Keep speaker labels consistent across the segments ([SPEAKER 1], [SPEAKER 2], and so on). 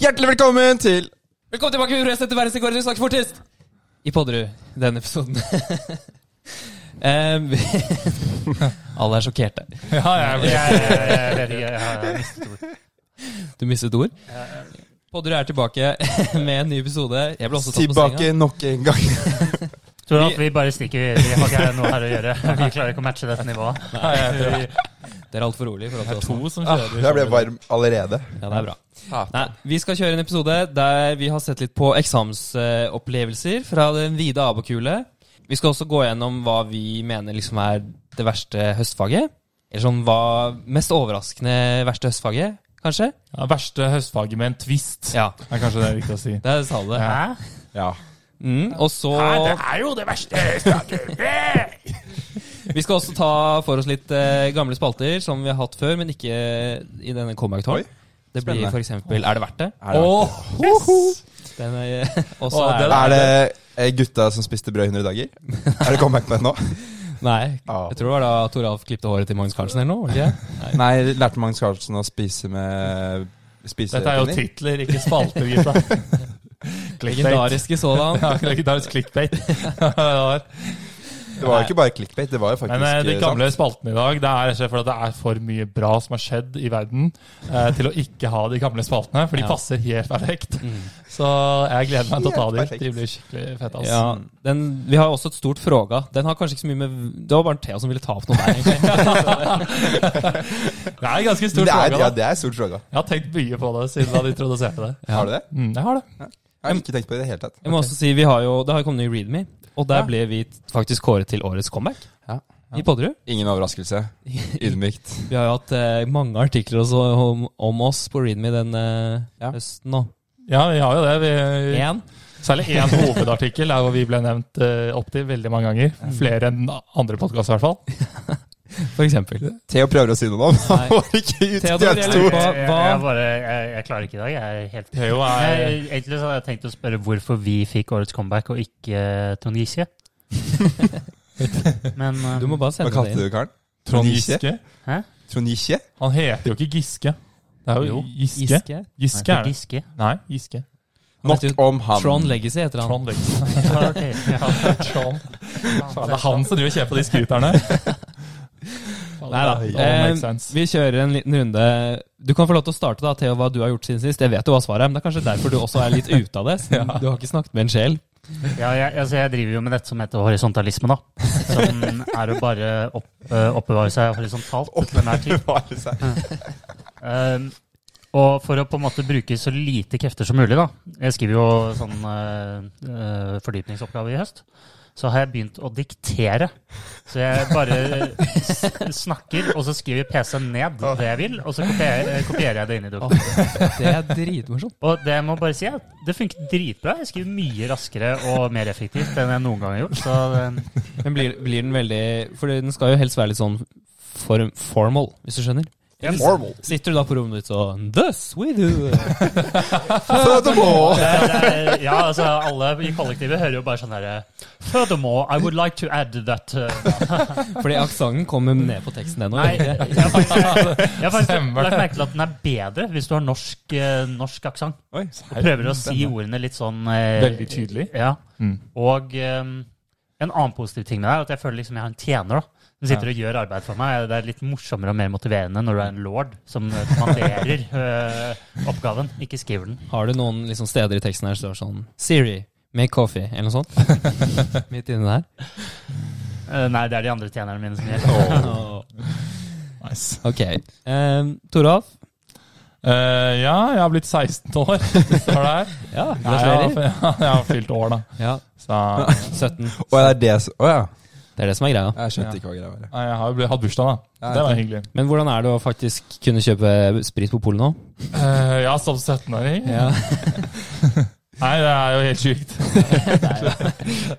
[SPEAKER 1] Hjertelig velkommen til
[SPEAKER 2] Velkommen tilbake, Urest etter verdensrekord. Du snakker fortest! I Podderud, denne episoden. Em, alle er sjokkerte.
[SPEAKER 3] Ja, jeg, jeg, jeg, jeg, jeg vet ikke. Jeg har mistet ord.
[SPEAKER 2] Du mistet ord. Podderud er tilbake med en ny episode. Jeg ble også tatt på senga.
[SPEAKER 1] Tilbake nok en gang.
[SPEAKER 3] Tror du at vi bare stikker videre? Vi har ikke noe her å gjøre. Vi klarer ikke å matche dette nivået. Vi-
[SPEAKER 2] Dere er altfor rolig. i forhold til oss nå.
[SPEAKER 4] To som kjører.
[SPEAKER 1] sånn. Ah, Jeg ble varm allerede.
[SPEAKER 2] Ja, det er bra. Nei, vi skal kjøre en episode der vi har sett litt på eksamensopplevelser fra den vide abakule. Vi skal også gå gjennom hva vi mener liksom er det verste høstfaget. Eller sånn hva mest overraskende verste høstfaget, kanskje.
[SPEAKER 4] Ja, verste høstfaget med en twist,
[SPEAKER 2] Ja,
[SPEAKER 4] er kanskje det er riktig å si.
[SPEAKER 2] det sa du. det.
[SPEAKER 3] Hæ?
[SPEAKER 1] Ja.
[SPEAKER 2] Mm, og så
[SPEAKER 3] er jo det verste!
[SPEAKER 2] Vi skal også ta for oss litt eh, gamle spalter som vi har hatt før, men ikke i denne comeback-talen. Det blir
[SPEAKER 1] spennende.
[SPEAKER 2] for eksempel Er det verdt det?
[SPEAKER 1] Er det,
[SPEAKER 4] Åh,
[SPEAKER 2] Den er, eh, også
[SPEAKER 4] Å,
[SPEAKER 2] er
[SPEAKER 4] den
[SPEAKER 2] det
[SPEAKER 1] er det eh, gutta som spiste brød i 100 dager? Er det comeback på det nå?
[SPEAKER 2] Nei.
[SPEAKER 1] Ja.
[SPEAKER 2] Jeg tror det var da Tor Alf klippte håret til Magnus Carlsen eller noe. var det Ikke? det? Nei.
[SPEAKER 1] Nei, lærte Magnus Carlsen å spise med
[SPEAKER 4] Dette er jo
[SPEAKER 1] spisepinner?
[SPEAKER 4] titler, ikke spalter, gutta.
[SPEAKER 2] Legendariske sådan.
[SPEAKER 4] Ja, legendarisk clickbait. Ja, det
[SPEAKER 1] Det var
[SPEAKER 4] var.
[SPEAKER 1] jo ikke bare clickbait, det var jo faktisk
[SPEAKER 4] Men eh, de
[SPEAKER 1] eh,
[SPEAKER 4] gamle
[SPEAKER 1] sant.
[SPEAKER 4] spaltene i dag, det er rett og slett fordi det er for mye bra som har skjedd i verden eh, til å ikke ha de gamle spaltene, for de
[SPEAKER 2] Ja.
[SPEAKER 4] passer helt perfekt. Så jeg gleder meg til å
[SPEAKER 1] Mm.
[SPEAKER 4] ta
[SPEAKER 1] Helt
[SPEAKER 4] de.
[SPEAKER 1] perfekt.
[SPEAKER 4] De blir skikkelig fete. ass.
[SPEAKER 2] Ja, den, vi har også et stort fråga. Den har kanskje ikke så mye med Det var bare Thea som ville ta opp noe der. egentlig.
[SPEAKER 4] Det er en ganske stor
[SPEAKER 1] Det er,
[SPEAKER 4] fråga.
[SPEAKER 1] ja,
[SPEAKER 4] da.
[SPEAKER 1] det er stort fråga.
[SPEAKER 4] Jeg har tenkt mye på det siden da de introduserte det.
[SPEAKER 2] Ja.
[SPEAKER 1] Har du det?
[SPEAKER 4] Mm, jeg har det.
[SPEAKER 1] Jeg har ikke tenkt på det i det hele tatt.
[SPEAKER 2] Jeg må også si, vi har jo, Det har jo kommet ny Readme, og der ble vi faktisk kåret til årets comeback.
[SPEAKER 1] Ja.
[SPEAKER 2] I Podderud.
[SPEAKER 1] Ingen overraskelse. Ydmykt.
[SPEAKER 2] Vi har jo hatt eh, mange artikler også om, om oss på Readme den eh,
[SPEAKER 1] Ja.
[SPEAKER 2] høsten nå.
[SPEAKER 4] Ja, vi har jo det. Vi,
[SPEAKER 2] Én.
[SPEAKER 4] Særlig én hovedartikkel er hvor vi ble nevnt eh, opp til veldig mange ganger. Flere enn andre podkaster, i hvert fall.
[SPEAKER 2] For eksempel.
[SPEAKER 1] Theo prøver å si noe nå, men han
[SPEAKER 2] Nei.
[SPEAKER 1] får ikke ut
[SPEAKER 2] Theodor,
[SPEAKER 1] det
[SPEAKER 2] jeg
[SPEAKER 1] to.
[SPEAKER 2] lurer
[SPEAKER 3] Jeg, jeg,
[SPEAKER 2] Hva-
[SPEAKER 3] jeg, bare, jeg, jeg klarer ikke i dag. Jeg er helt
[SPEAKER 4] Theo er eh,
[SPEAKER 3] jeg, Egentlig så hadde jeg tenkt å spørre hvorfor vi fikk årets comeback og ikke eh, Trond Giske. Men eh,
[SPEAKER 2] Du må bare
[SPEAKER 1] Hva
[SPEAKER 2] sende det
[SPEAKER 1] kalte
[SPEAKER 2] inn.
[SPEAKER 1] du karen?
[SPEAKER 4] Trond Giske.
[SPEAKER 3] Hæ?
[SPEAKER 1] Trond Giske?
[SPEAKER 4] Han heter jo ikke Giske. Det er jo
[SPEAKER 2] Jo,
[SPEAKER 4] Giske.
[SPEAKER 2] Giske.
[SPEAKER 4] Giske er det.
[SPEAKER 3] Giske?
[SPEAKER 4] Nei, Giske.
[SPEAKER 2] Han
[SPEAKER 1] Nok
[SPEAKER 2] heter jo
[SPEAKER 1] om han.
[SPEAKER 2] Trond Legacy heter han.
[SPEAKER 4] Trond Legacy.
[SPEAKER 3] Ja, ok. Ja.
[SPEAKER 4] Trond. Faen, det er han som driver og kjører på de scooterne.
[SPEAKER 2] Neida. Eh, vi kjører en liten runde. Du kan få lov til å starte, da, Theo, hva du har gjort siden sist. Jeg vet jo hva svaret er, men det er kanskje derfor du også er litt ute av det. Siden Du har ikke snakket med en sjel.
[SPEAKER 3] Ja, jeg, altså jeg driver jo med dette som heter horisontalisme, da. Som er å bare opp, eh, oppbevare seg horisontalt til enhver tid.
[SPEAKER 1] Bevare seg.
[SPEAKER 3] Um, og for å på en måte bruke så lite krefter som mulig, da. Jeg skriver jo sånn eh, eh, fordypningsoppgave i høst. Så har jeg begynt å diktere. Så jeg bare s snakker, og så skriver PC-en ned det jeg vil, og så kopierer, eh, kopierer jeg det inn i dokumentet.
[SPEAKER 2] Det er dritmorsomt.
[SPEAKER 3] Og det jeg må bare si er at det funker dritbra. Jeg skriver mye raskere og mer effektivt enn jeg noen gang har gjort. Så eh,
[SPEAKER 2] Men blir, blir den veldig For den skal jo helst være litt sånn form, formal, hvis du skjønner.
[SPEAKER 1] Formal.
[SPEAKER 2] Sitter du da på rommet ditt sånn This we do.
[SPEAKER 1] Furthermore.
[SPEAKER 3] det er, ja, altså alle i kollektivet hører jo bare sånn herre Furthermore, I would like to add that eh,
[SPEAKER 2] Fordi aksenten kommer ned på teksten ennå.
[SPEAKER 3] Nei, jeg, jeg, har faktisk- jeg har faktisk
[SPEAKER 4] Stemmer det.
[SPEAKER 3] lagt merke til at den er bedre hvis du har norsk, eh, norsk aksent.
[SPEAKER 1] Oi,
[SPEAKER 3] Prøver å si ordene litt sånn eh,
[SPEAKER 4] Veldig tydelig.
[SPEAKER 3] Ja.
[SPEAKER 4] Mm.
[SPEAKER 3] Og eh, en annen positiv ting med det er at jeg føler liksom jeg har en tjener. da som sitter og gjør arbeid for meg. Det er litt morsommere og mer motiverende når du er en lord som eh, kommanderer eh, oppgaven, ikke skriver den.
[SPEAKER 2] Har du noen liksom, steder i teksten her som står sånn Siri, make coffee, eller noe sånt? Midt inni der.
[SPEAKER 3] Eh, nei, det er de andre tjenerne mine som gjør
[SPEAKER 4] Nice.
[SPEAKER 2] Ok. Um, Toralf.
[SPEAKER 4] Eh, ja, jeg har blitt 16 år. Det står det her.
[SPEAKER 2] Ja,
[SPEAKER 4] Nei, jeg,
[SPEAKER 2] gratulerer.
[SPEAKER 4] har, jeg har fylt år, da.
[SPEAKER 2] Ja,
[SPEAKER 4] Så
[SPEAKER 2] 17.
[SPEAKER 1] Å, er det det som Å ja.
[SPEAKER 2] Det er det som er greia.
[SPEAKER 1] Jeg skjønte
[SPEAKER 4] Ja.
[SPEAKER 1] ikke hva greia var.
[SPEAKER 4] Nei, jeg har jo blitt- hatt bursdag, da.
[SPEAKER 1] Ja,
[SPEAKER 4] Det var hyggelig.
[SPEAKER 2] Men hvordan er det å faktisk kunne kjøpe sprit på polet nå?
[SPEAKER 4] Eh, ja, som 17-åring?
[SPEAKER 2] Ja.
[SPEAKER 4] Nei, det er jo helt sjukt.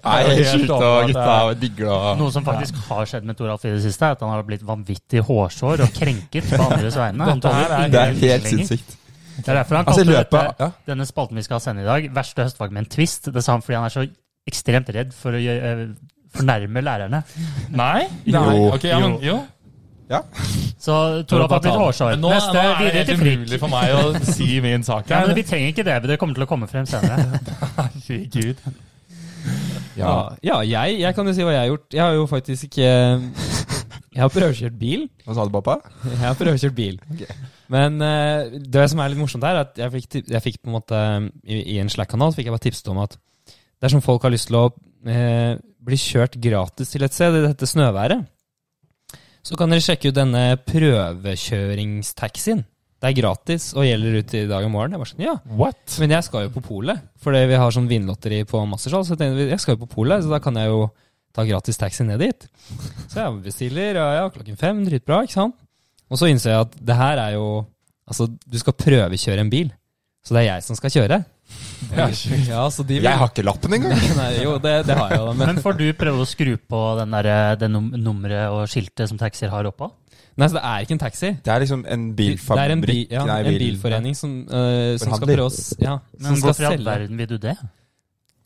[SPEAKER 1] Nei,
[SPEAKER 4] helt sjukt, og gutta er
[SPEAKER 1] digger
[SPEAKER 3] Noe som faktisk har skjedd med Toralf i det siste, er at han har blitt vanvittig hårsår og krenket på andres vegne. Han
[SPEAKER 4] Dette her
[SPEAKER 3] tåler
[SPEAKER 4] er
[SPEAKER 1] Det
[SPEAKER 3] ingen
[SPEAKER 1] er helt
[SPEAKER 3] lenger.
[SPEAKER 1] sinnssykt.
[SPEAKER 3] Det er derfor han
[SPEAKER 1] Altså, i
[SPEAKER 3] kalte
[SPEAKER 1] løpet
[SPEAKER 3] dette,
[SPEAKER 1] av ja.
[SPEAKER 3] denne spalten vi skal sende i dag, verste høstfag med en twist. Det sa han fordi han er så ekstremt redd for å gjøre, eh, fornærme lærerne.
[SPEAKER 4] Nei?
[SPEAKER 1] Jo.
[SPEAKER 4] Ok, ja, men, jo.
[SPEAKER 1] Ja.
[SPEAKER 3] Så Toralf har blitt hårsår.
[SPEAKER 4] Nå,
[SPEAKER 3] Neste
[SPEAKER 4] nå er det
[SPEAKER 3] videre til
[SPEAKER 4] helt
[SPEAKER 3] Frigg.
[SPEAKER 4] umulig for meg å si min sak
[SPEAKER 3] Ja, men
[SPEAKER 4] her.
[SPEAKER 3] vi trenger ikke det. Det kommer til å komme frem senere.
[SPEAKER 4] Herregud.
[SPEAKER 2] Ja,
[SPEAKER 1] ja.
[SPEAKER 2] ja jeg, jeg kan jo si hva jeg har gjort. Jeg har jo faktisk ikke Jeg har prøvekjørt bil.
[SPEAKER 1] Hva sa du, pappa?
[SPEAKER 2] Jeg har prøvekjørt bil.
[SPEAKER 1] Ok.
[SPEAKER 2] Men eh, det som er litt morsomt her, er at jeg fikk, ti- jeg fikk på en måte um, i, i en Slack-kanal så fikk jeg bare tipset om at dersom folk har lyst til å eh, bli kjørt gratis til et sted i dette snøværet, så kan dere sjekke ut denne prøvekjøringstaxien. Det er gratis og gjelder ut i dag og morgen. Jeg bare sånn, ja.
[SPEAKER 4] What?
[SPEAKER 2] Men jeg skal jo på polet, fordi vi har sånn vinlotteri på Mastersal. Så jeg tenkte, jeg skal jo på polet, så da kan jeg jo ta gratis taxi ned dit. Så jeg bestiller, ja, ja, klokken fem, dritbra, ikke sant? Og så innser jeg at det her er jo Altså, du skal prøvekjøre en bil. Så det er jeg som skal kjøre. Ja, så de vil-
[SPEAKER 1] Jeg har ikke lappen engang!
[SPEAKER 2] Nei, jo, det, det har jeg jo, da, men
[SPEAKER 3] Men får du prøve å skru på den der, eh, det num nummeret og skiltet som taxier har oppå?
[SPEAKER 2] Nei, så det er ikke en taxi.
[SPEAKER 1] Det er liksom en
[SPEAKER 2] det er en,
[SPEAKER 1] bilfabrikk
[SPEAKER 2] bi, ja,
[SPEAKER 1] nei,
[SPEAKER 2] en
[SPEAKER 1] bil-
[SPEAKER 2] bilforening som, eh, som skal
[SPEAKER 1] Forhandler.
[SPEAKER 2] prøve å s- ja, som
[SPEAKER 3] Men
[SPEAKER 2] skal
[SPEAKER 3] hvorfor i all
[SPEAKER 2] selge.
[SPEAKER 3] verden vil du det?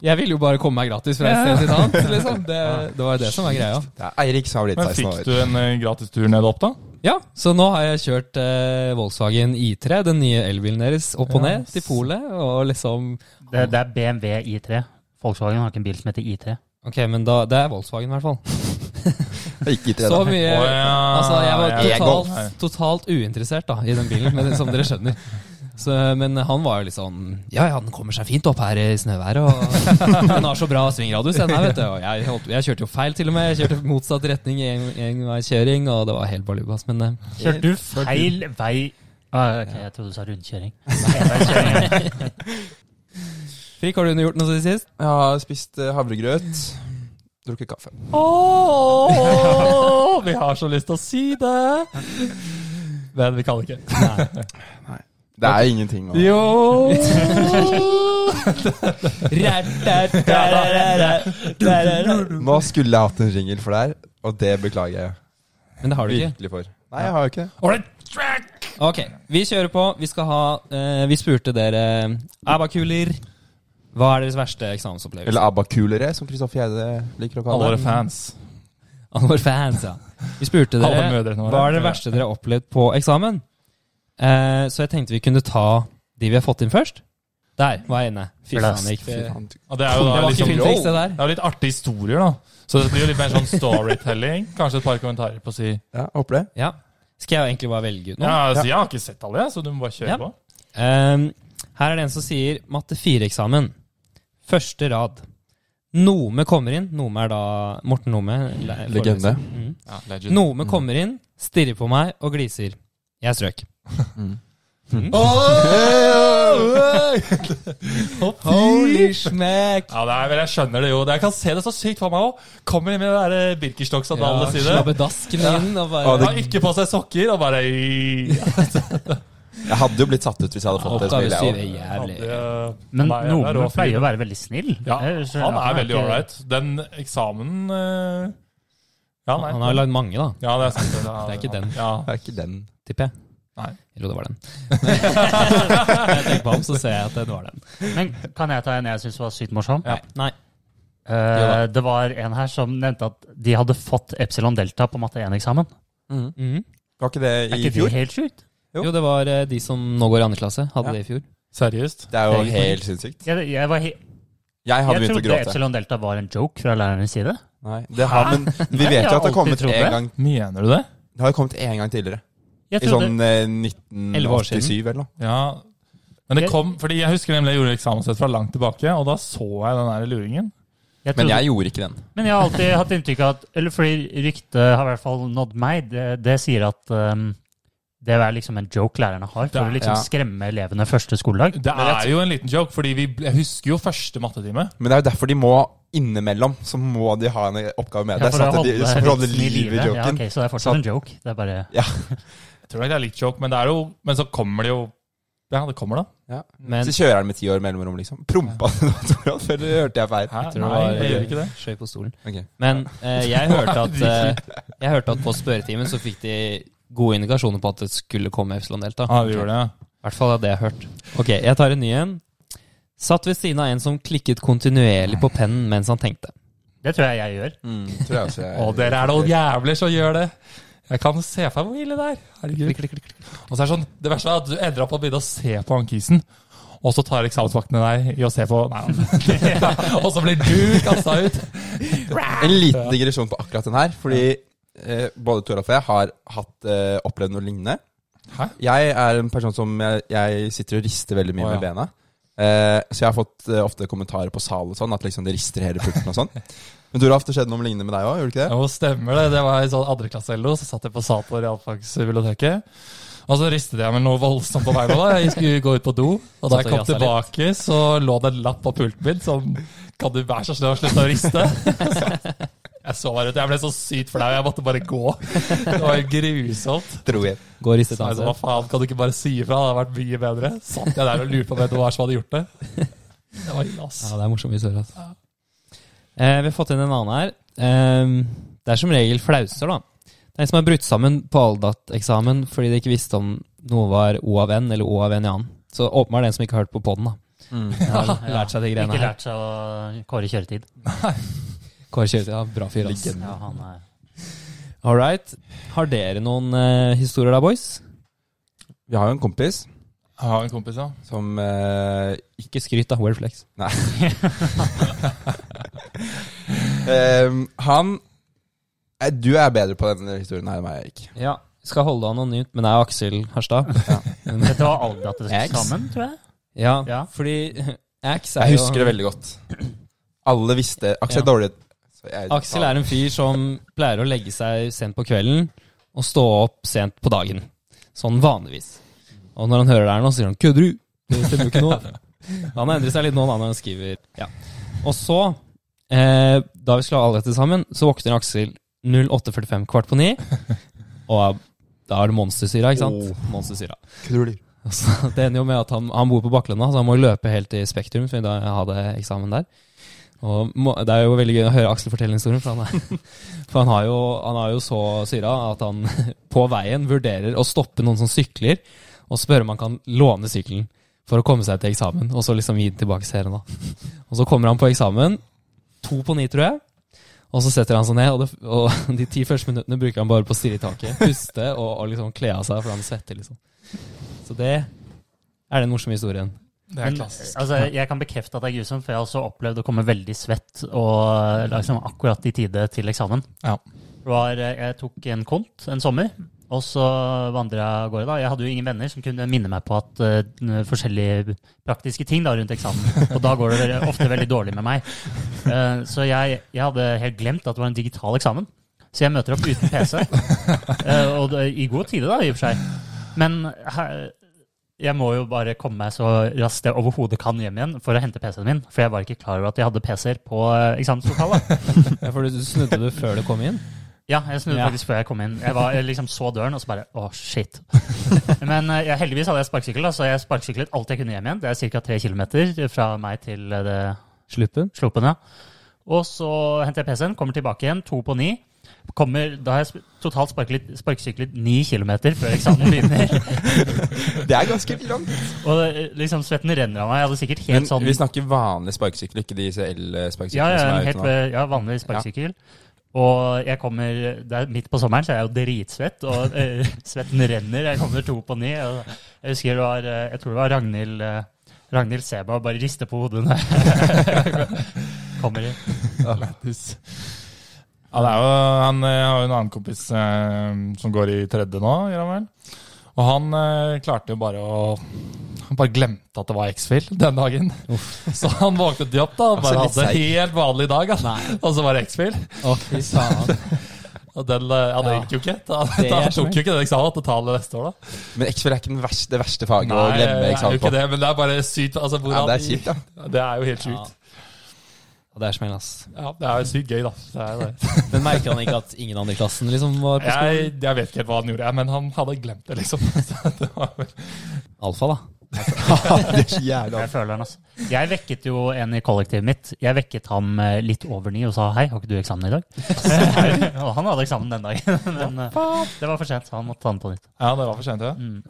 [SPEAKER 2] Jeg ville jo bare komme meg gratis fra et sted til et annet, liksom. Det, det var jo det som var greia.
[SPEAKER 1] Det er Eirik som har blitt
[SPEAKER 4] Men
[SPEAKER 1] 16
[SPEAKER 4] fikk
[SPEAKER 1] år.
[SPEAKER 4] du en eh, gratis tur ned opp, da?
[SPEAKER 2] Ja, så nå har jeg kjørt eh, Volkswagen I3, den nye elbilen deres, opp og ned til polet. Og liksom
[SPEAKER 3] det? Det er BMW I3. Volkswagen har ikke en bil som heter I3.
[SPEAKER 2] Ok, men da, det er Volkswagen, i hvert fall.
[SPEAKER 1] Jeg gikk dit i det,
[SPEAKER 2] Så
[SPEAKER 1] da.
[SPEAKER 2] mye
[SPEAKER 4] Å, ja.
[SPEAKER 2] Altså, jeg var
[SPEAKER 4] Ja,
[SPEAKER 2] totalt,
[SPEAKER 4] golf.
[SPEAKER 2] totalt uinteressert da, i den bilen, men, som dere skjønner. Så, men han var jo litt sånn Ja, ja, den kommer seg fint opp her i snøværet. Og den har så bra svingradius, den her, vet du. Og jeg, holdt, jeg kjørte jo feil, til og med. Jeg kjørte motsatt retning i en- enveiskjøring, og det var helt balubas. Men eh,
[SPEAKER 3] Kjørte du feil vei ah, Ok, jeg trodde du sa rundkjøring. Enveiskjøring, ja.
[SPEAKER 2] Frikk, har du gjort noe siden sist?
[SPEAKER 1] Jeg har spist eh, havregrøt. Drukket kaffe.
[SPEAKER 4] Åh, vi har så lyst til å si det! Men vi kan ikke.
[SPEAKER 1] Det er ingenting å
[SPEAKER 4] Jo!
[SPEAKER 1] Nå skulle jeg hatt en jingle for det her, og det beklager jeg
[SPEAKER 2] Men det har du ikke.
[SPEAKER 1] virkelig for. Nei, jeg har jo ikke det.
[SPEAKER 2] Ok, vi kjører på. Vi skal ha eh, Vi spurte dere Abakuler. Hva er deres verste eksamensopplevelse?
[SPEAKER 1] Eller ABBA-kulere, som Kristoffer Gjerde liker å
[SPEAKER 4] Alle
[SPEAKER 1] kalle
[SPEAKER 4] våre
[SPEAKER 1] det.
[SPEAKER 4] fans.
[SPEAKER 2] Alle våre fans, ja. Vi spurte
[SPEAKER 4] Alle
[SPEAKER 2] dere
[SPEAKER 4] mødrene våre.
[SPEAKER 2] hva er det verste dere har opplevd på eksamen. Eh, så jeg tenkte vi kunne ta de vi har fått inn først. Der var jeg inne. Fy faen,
[SPEAKER 3] Blast.
[SPEAKER 2] gikk det
[SPEAKER 1] Fy faen, du-
[SPEAKER 4] Ja, det er jo
[SPEAKER 2] Det
[SPEAKER 4] da
[SPEAKER 2] var ikke
[SPEAKER 4] liksom,
[SPEAKER 2] filmtriks, det der.
[SPEAKER 4] det er jo litt artige historier, da. Så det blir jo litt mer sånn storytelling. Kanskje et par kommentarer på å si
[SPEAKER 1] Ja, håper det.
[SPEAKER 2] Ja. Skal jeg egentlig bare velge ut noe?
[SPEAKER 4] Ja, altså, Jeg har ikke sett alle, jeg, så du må bare kjøre
[SPEAKER 2] Ja.
[SPEAKER 4] på.
[SPEAKER 2] Ehm, her er det en som sier matte 4-eksamen. Første rad. Nome kommer inn. Nome er da Morten Nome. le-
[SPEAKER 1] Legende.
[SPEAKER 2] foreleser. Mm.
[SPEAKER 4] Ja,
[SPEAKER 2] Nome kommer inn, stirrer på meg og gliser. Jeg strøk. Holy smack!
[SPEAKER 4] Ja, det er, vel, Jeg skjønner det jo. Det- Jeg kan se det så sykt for meg òg. Kommer inn med det der eh, Birkenstock-sandalene sine.
[SPEAKER 2] Slabbedasken inn og
[SPEAKER 1] Ja,
[SPEAKER 2] bare
[SPEAKER 1] det-
[SPEAKER 4] Har ikke på seg sokker og bare
[SPEAKER 1] Jeg hadde jo blitt satt ut hvis jeg hadde fått det
[SPEAKER 2] Oppgave
[SPEAKER 1] spillet.
[SPEAKER 2] syv
[SPEAKER 1] jeg også.
[SPEAKER 2] er jævlig.
[SPEAKER 3] Men
[SPEAKER 4] Nei, det er
[SPEAKER 3] Nome
[SPEAKER 4] rå fyr.
[SPEAKER 3] pleier å være veldig snill.
[SPEAKER 4] Ja,
[SPEAKER 3] Jeg skjønner
[SPEAKER 4] han
[SPEAKER 3] at
[SPEAKER 4] er veldig
[SPEAKER 3] ikke-
[SPEAKER 4] ålreit. Den eksamen eh, Ja, nei.
[SPEAKER 2] Han har lagd mange, da.
[SPEAKER 4] Ja, det er sant. Det
[SPEAKER 2] Det er ikke den.
[SPEAKER 4] Ja.
[SPEAKER 1] Det er ikke den.
[SPEAKER 2] Tipper jeg.
[SPEAKER 4] Nei.
[SPEAKER 2] Jo, det var den. Når jeg tenker på ham, så ser jeg at det var den.
[SPEAKER 3] Men kan jeg ta en jeg syns var sykt morsom?
[SPEAKER 4] Ja.
[SPEAKER 2] Nei.
[SPEAKER 3] Eh, det var en her som nevnte at de hadde fått Epsilon Delta på matte 1-eksamen.
[SPEAKER 1] Mm.
[SPEAKER 2] Mhm.
[SPEAKER 1] Var ikke det
[SPEAKER 3] Er
[SPEAKER 1] i
[SPEAKER 3] ikke det
[SPEAKER 1] fjor?
[SPEAKER 3] helt sjukt?
[SPEAKER 1] Jo.
[SPEAKER 2] Jo, det var eh, de som nå går i andre klasse, hadde
[SPEAKER 1] Ja.
[SPEAKER 2] det i fjor.
[SPEAKER 4] Seriøst?
[SPEAKER 1] Det er jo
[SPEAKER 2] Det er ikke
[SPEAKER 1] helt sinnssykt.
[SPEAKER 3] Jeg, jeg, var he
[SPEAKER 1] Jeg hadde
[SPEAKER 3] jeg
[SPEAKER 1] begynt å
[SPEAKER 3] trodde
[SPEAKER 1] gråte.
[SPEAKER 3] Epsilon Delta var en joke fra lærernes side.
[SPEAKER 1] Nei, det har, men vi vet jo
[SPEAKER 3] jeg har
[SPEAKER 1] at det har kommet
[SPEAKER 3] alltid trodd
[SPEAKER 1] en
[SPEAKER 3] det.
[SPEAKER 1] gang
[SPEAKER 4] Mener du det?
[SPEAKER 1] Det har jo kommet en gang tidligere.
[SPEAKER 3] Jeg
[SPEAKER 1] I
[SPEAKER 3] trodde,
[SPEAKER 1] sånn eh,
[SPEAKER 2] 11 år siden.
[SPEAKER 1] 1987 eller noe.
[SPEAKER 4] Ja. Men det
[SPEAKER 3] Jeg-
[SPEAKER 4] kom, fordi jeg husker nemlig jeg gjorde eksamenstest fra langt tilbake, og da så jeg den der luringen.
[SPEAKER 3] jeg trodde,
[SPEAKER 1] Men jeg gjorde ikke den.
[SPEAKER 3] Men jeg har alltid hatt inntrykk av at Eller fordi ryktet har i hvert fall nådd meg. Det, det sier at um, det er liksom en joke lærerne har for
[SPEAKER 4] Det-
[SPEAKER 3] å liksom
[SPEAKER 1] ja.
[SPEAKER 3] skremme elevene første skoledag.
[SPEAKER 4] Det
[SPEAKER 1] Men jeg
[SPEAKER 4] er jo en liten joke, fordi vi, jeg husker jo første mattetime.
[SPEAKER 1] Men det er jo derfor de må innimellom så må de ha en oppgave med.
[SPEAKER 3] Ja,
[SPEAKER 1] det er
[SPEAKER 3] for å
[SPEAKER 1] sant at de,
[SPEAKER 3] holde
[SPEAKER 1] så for å holde
[SPEAKER 3] vitsen i
[SPEAKER 1] liv i
[SPEAKER 3] live. Ja,
[SPEAKER 1] joken.
[SPEAKER 3] ok, så
[SPEAKER 1] Så-
[SPEAKER 3] det er fortsatt en joke. Det er bare
[SPEAKER 4] Jeg tror nok det er litt joke, men, det er jo, men så kommer det jo Ja, det kommer, da.
[SPEAKER 2] Men
[SPEAKER 1] Så kjører han med ti år mellomrom, liksom. Prompa du da, Toralf? Eller hørte jeg feil?
[SPEAKER 4] Hæ?
[SPEAKER 2] tror det
[SPEAKER 4] Nei,
[SPEAKER 2] var-
[SPEAKER 4] jeg gjør ikke det.
[SPEAKER 2] skjøy på stolen.
[SPEAKER 1] Ok.
[SPEAKER 2] Men eh, jeg, hørte at, eh, jeg hørte at på spørretimen så fikk de gode indikasjoner på at det skulle komme Epsilon Delta.
[SPEAKER 4] Ja, vi gjør det, ja.
[SPEAKER 2] I hvert fall hadde jeg hørt. Ok, jeg tar en ny en. Satt ved siden av en som klikket kontinuerlig på pennen mens han tenkte.
[SPEAKER 3] Det tror jeg jeg gjør.
[SPEAKER 1] Mm, tror jeg også jeg
[SPEAKER 4] Å, dere er noen jævler som gjør det. Jeg kan se for meg hvor ille det er. Herregud. Og så er det sånn, det verste er at du ender opp med å begynne å se på han kisen, og så tar eksamensvaktene deg i å se på Nei, han- og så blir du kasta ut.
[SPEAKER 1] En liten digresjon på akkurat den her. Fordi eh, både Toralf og jeg har hatt, eh, opplevd noe lignende.
[SPEAKER 4] Hæ?
[SPEAKER 1] Jeg er en person som jeg, jeg sitter og rister veldig mye
[SPEAKER 4] Å, ja.
[SPEAKER 1] med bena. Eh, så jeg har fått eh, ofte kommentarer på sal og sånn, at liksom det rister i hele pulten og sånn. Men Toralf, det skjedde noe lignende med deg òg, gjorde det ikke det?
[SPEAKER 4] Jo, stemmer det. Det var i sånn andreklasse-LO, så satt jeg på sal på realfagsbiblioteket. Og så ristet jeg meg noe voldsomt på beina. da. Jeg skulle gå ut på do, og da jeg
[SPEAKER 2] Satt og
[SPEAKER 4] kom
[SPEAKER 2] jassa
[SPEAKER 4] tilbake, så lå det en lapp på pulten min som Kan du være så snill å slutte å riste? Jeg så bare ut, jeg ble så sykt flau, jeg måtte bare gå. Det var jo grusomt.
[SPEAKER 1] Tror jeg.
[SPEAKER 2] Gå og riste
[SPEAKER 4] Så jeg sa, hva faen, kan du ikke bare si ifra? Det hadde vært mye bedre. Satt jeg der og lurte på hvem det var som hadde gjort det. Det var ille, ass.
[SPEAKER 2] Ja, det er morsomt vi hører. Altså. Eh, vi har fått inn en annen her. Eh, det er som regel flauser, da. Det er en som har brutt sammen på Aldat-eksamen fordi de ikke visste om noe var O av N eller O av N i annen. Så åpenbart er det en som ikke har hørt på poden, da.
[SPEAKER 4] Mm.
[SPEAKER 2] Har lært seg de greiene
[SPEAKER 3] Ikke
[SPEAKER 2] her.
[SPEAKER 3] lært seg å kåre kjøretid.
[SPEAKER 2] Kåre Kjøretøy, ja, bra fyr, ass.
[SPEAKER 3] Ja, han er
[SPEAKER 2] All right. Har dere noen eh, historier da, boys?
[SPEAKER 1] Vi har jo en kompis
[SPEAKER 4] Jeg har en kompis, ja.
[SPEAKER 1] som eh,
[SPEAKER 2] Ikke skryt, da. Well flex.
[SPEAKER 1] Ehm, han Eh, Du er bedre på denne historien her enn meg, Erik.
[SPEAKER 2] Ja. Skal holde anonymt, men det er jo Aksel Harstad.
[SPEAKER 3] Dette var aldri at det
[SPEAKER 2] Ex.
[SPEAKER 3] skulle sammen, tror jeg.
[SPEAKER 2] Ja,
[SPEAKER 3] Ja.
[SPEAKER 2] fordi Ax er
[SPEAKER 1] Jeg
[SPEAKER 2] jo
[SPEAKER 1] husker det veldig godt. Alle visste Aksel
[SPEAKER 2] Ja.
[SPEAKER 1] er dårlig så jeg-
[SPEAKER 2] Aksel er en fyr som pleier å legge seg sent på kvelden og stå opp sent på dagen. Sånn vanligvis. Og når han hører det her nå, så sier han 'kødder du'? Det stemmer jo ikke nå. Han har endret seg litt nå da når han skriver. Ja. Og så, eh, da vi skulle ha alle dette sammen, så våkner Aksel 08.45 kvart på ni. Og da er det monstersyra, ikke sant? Monstersyra.
[SPEAKER 1] Knuller.
[SPEAKER 2] Og så- Det ender jo med at han, han bor på Bakkelanda, så han må jo løpe helt til Spektrum. For da jeg hadde eksamen der Og må, Det er jo veldig gøy å høre Aksel fortelle historien, for han, er, for han, har, jo, han har jo så syra at han på veien vurderer å stoppe noen som sykler, og spørre om han kan låne sykkelen for å komme seg til eksamen. Og så liksom gi den tilbake til serien. da. Og så kommer han på eksamen, to på ni, tror jeg. Og så setter han seg ned, og, det, og de ti første minuttene bruker han bare på å stirre i taket, puste og, og liksom kle av seg, for han svetter, liksom. Så det er den morsomme historien.
[SPEAKER 4] Det
[SPEAKER 3] Men,
[SPEAKER 4] er klassisk.
[SPEAKER 3] altså, jeg kan bekrefte at det er grusomt, for jeg har også opplevd å komme veldig svett og liksom akkurat i tide til eksamen.
[SPEAKER 4] Ja.
[SPEAKER 3] Det Var, eh, jeg tok en kont en sommer, og så vandra jeg av gårde. da. Jeg hadde jo ingen venner som kunne minne meg på at eh, forskjellige praktiske ting da rundt eksamen. Og da går det veldig, ofte veldig dårlig med meg. Eh, så jeg, jeg hadde helt glemt at det var en digital eksamen. Så jeg møter opp uten PC. Eh, og det, i god tide, da, i og for seg. Men her, jeg må jo bare komme meg så raskt jeg overhodet kan hjem igjen for å hente PC-en min. For jeg var ikke klar over at jeg hadde PC-er på eh, eksamenslokalet.
[SPEAKER 2] Ja, for du snudde du før du kom inn?
[SPEAKER 3] Ja, jeg snudde
[SPEAKER 2] Ja.
[SPEAKER 3] faktisk før jeg kom inn. Jeg, var, jeg liksom så døren, og så bare Å, shit. Men eh, jeg, heldigvis hadde jeg sparkesykkel, da, så jeg sparkesyklet alt jeg kunne hjem igjen. Det er ca. tre kilometer fra meg til eh, det
[SPEAKER 2] Sluppen?
[SPEAKER 3] Sluppen, ja. Og så henter jeg PC-en, kommer tilbake igjen, to på ni. Kommer, da har jeg sp- totalt sparklet- sparkesyklet ni kilometer før eksamen begynner.
[SPEAKER 1] Det er ganske langt.
[SPEAKER 3] Og eh, liksom svetten renner av meg. Jeg hadde sikkert helt
[SPEAKER 1] Men
[SPEAKER 3] sånn
[SPEAKER 1] vi snakker vanlig sparkesykkel, ikke de CL-sparkesyklene
[SPEAKER 3] ja, ja, en
[SPEAKER 1] som er
[SPEAKER 3] helt,
[SPEAKER 1] ute nå.
[SPEAKER 3] eh, ja, vanlig sparkesykkel. Og jeg kommer Det er midt på sommeren, så jeg er jo dritsvett, og eh, svetten renner. Jeg kommer to på ni. Og jeg husker det var eh, Jeg tror det var Ragnhild eh, Ragnhild Seba bare rister på hodet når jeg kommer inn.
[SPEAKER 4] Lattis. Ja, det er jo, han eh, har jo en annen kompis eh, som går i tredje nå, gjør han vel. Og han eh, klarte jo bare å Han bare glemte at det var X-Fill den dagen. Så han våknet de opp da og
[SPEAKER 1] Altså, litt
[SPEAKER 4] bare hadde en
[SPEAKER 1] seig.
[SPEAKER 4] helt vanlig dag. Altså. Og så var det X-Fill.
[SPEAKER 2] Å, fy faen.
[SPEAKER 4] Og den, eh, ja, det
[SPEAKER 2] Ja.
[SPEAKER 4] gikk jo ikke. Da,
[SPEAKER 2] Det
[SPEAKER 4] da
[SPEAKER 2] er så
[SPEAKER 4] tok jo ikke den eksamen til å ta det neste år, da.
[SPEAKER 1] Men X-Fill er ikke den verste, det verste faget å
[SPEAKER 4] det
[SPEAKER 1] glemme
[SPEAKER 4] er jo
[SPEAKER 1] eksamen på.
[SPEAKER 4] ikke det, men det er bare sykt. Altså,
[SPEAKER 1] Ja,
[SPEAKER 4] hvordan
[SPEAKER 1] det er kjipt, da.
[SPEAKER 4] i- Det er jo helt
[SPEAKER 2] Ja.
[SPEAKER 4] sjukt.
[SPEAKER 2] Og det er smell, ass.
[SPEAKER 4] Ja, det er jo sykt gøy, da. Det er jo det.
[SPEAKER 2] Men merker han ikke at ingen andre i klassen liksom var på skolen?
[SPEAKER 4] Jeg, jeg vet ikke helt hva han gjorde, jeg, men han hadde glemt det, liksom. Så det var vel
[SPEAKER 2] Alfa, da.
[SPEAKER 1] det er så jævlig
[SPEAKER 3] Jeg
[SPEAKER 1] alt.
[SPEAKER 3] føler den, altså. Jeg vekket jo en i kollektivet mitt. Jeg vekket ham eh, litt over ni og sa hei, har ikke du eksamen i dag? og han hadde eksamen den dagen, men eh, det var for sent, så han måtte ta den på nytt.
[SPEAKER 4] Ja, det var for sent, ja.
[SPEAKER 3] Mm.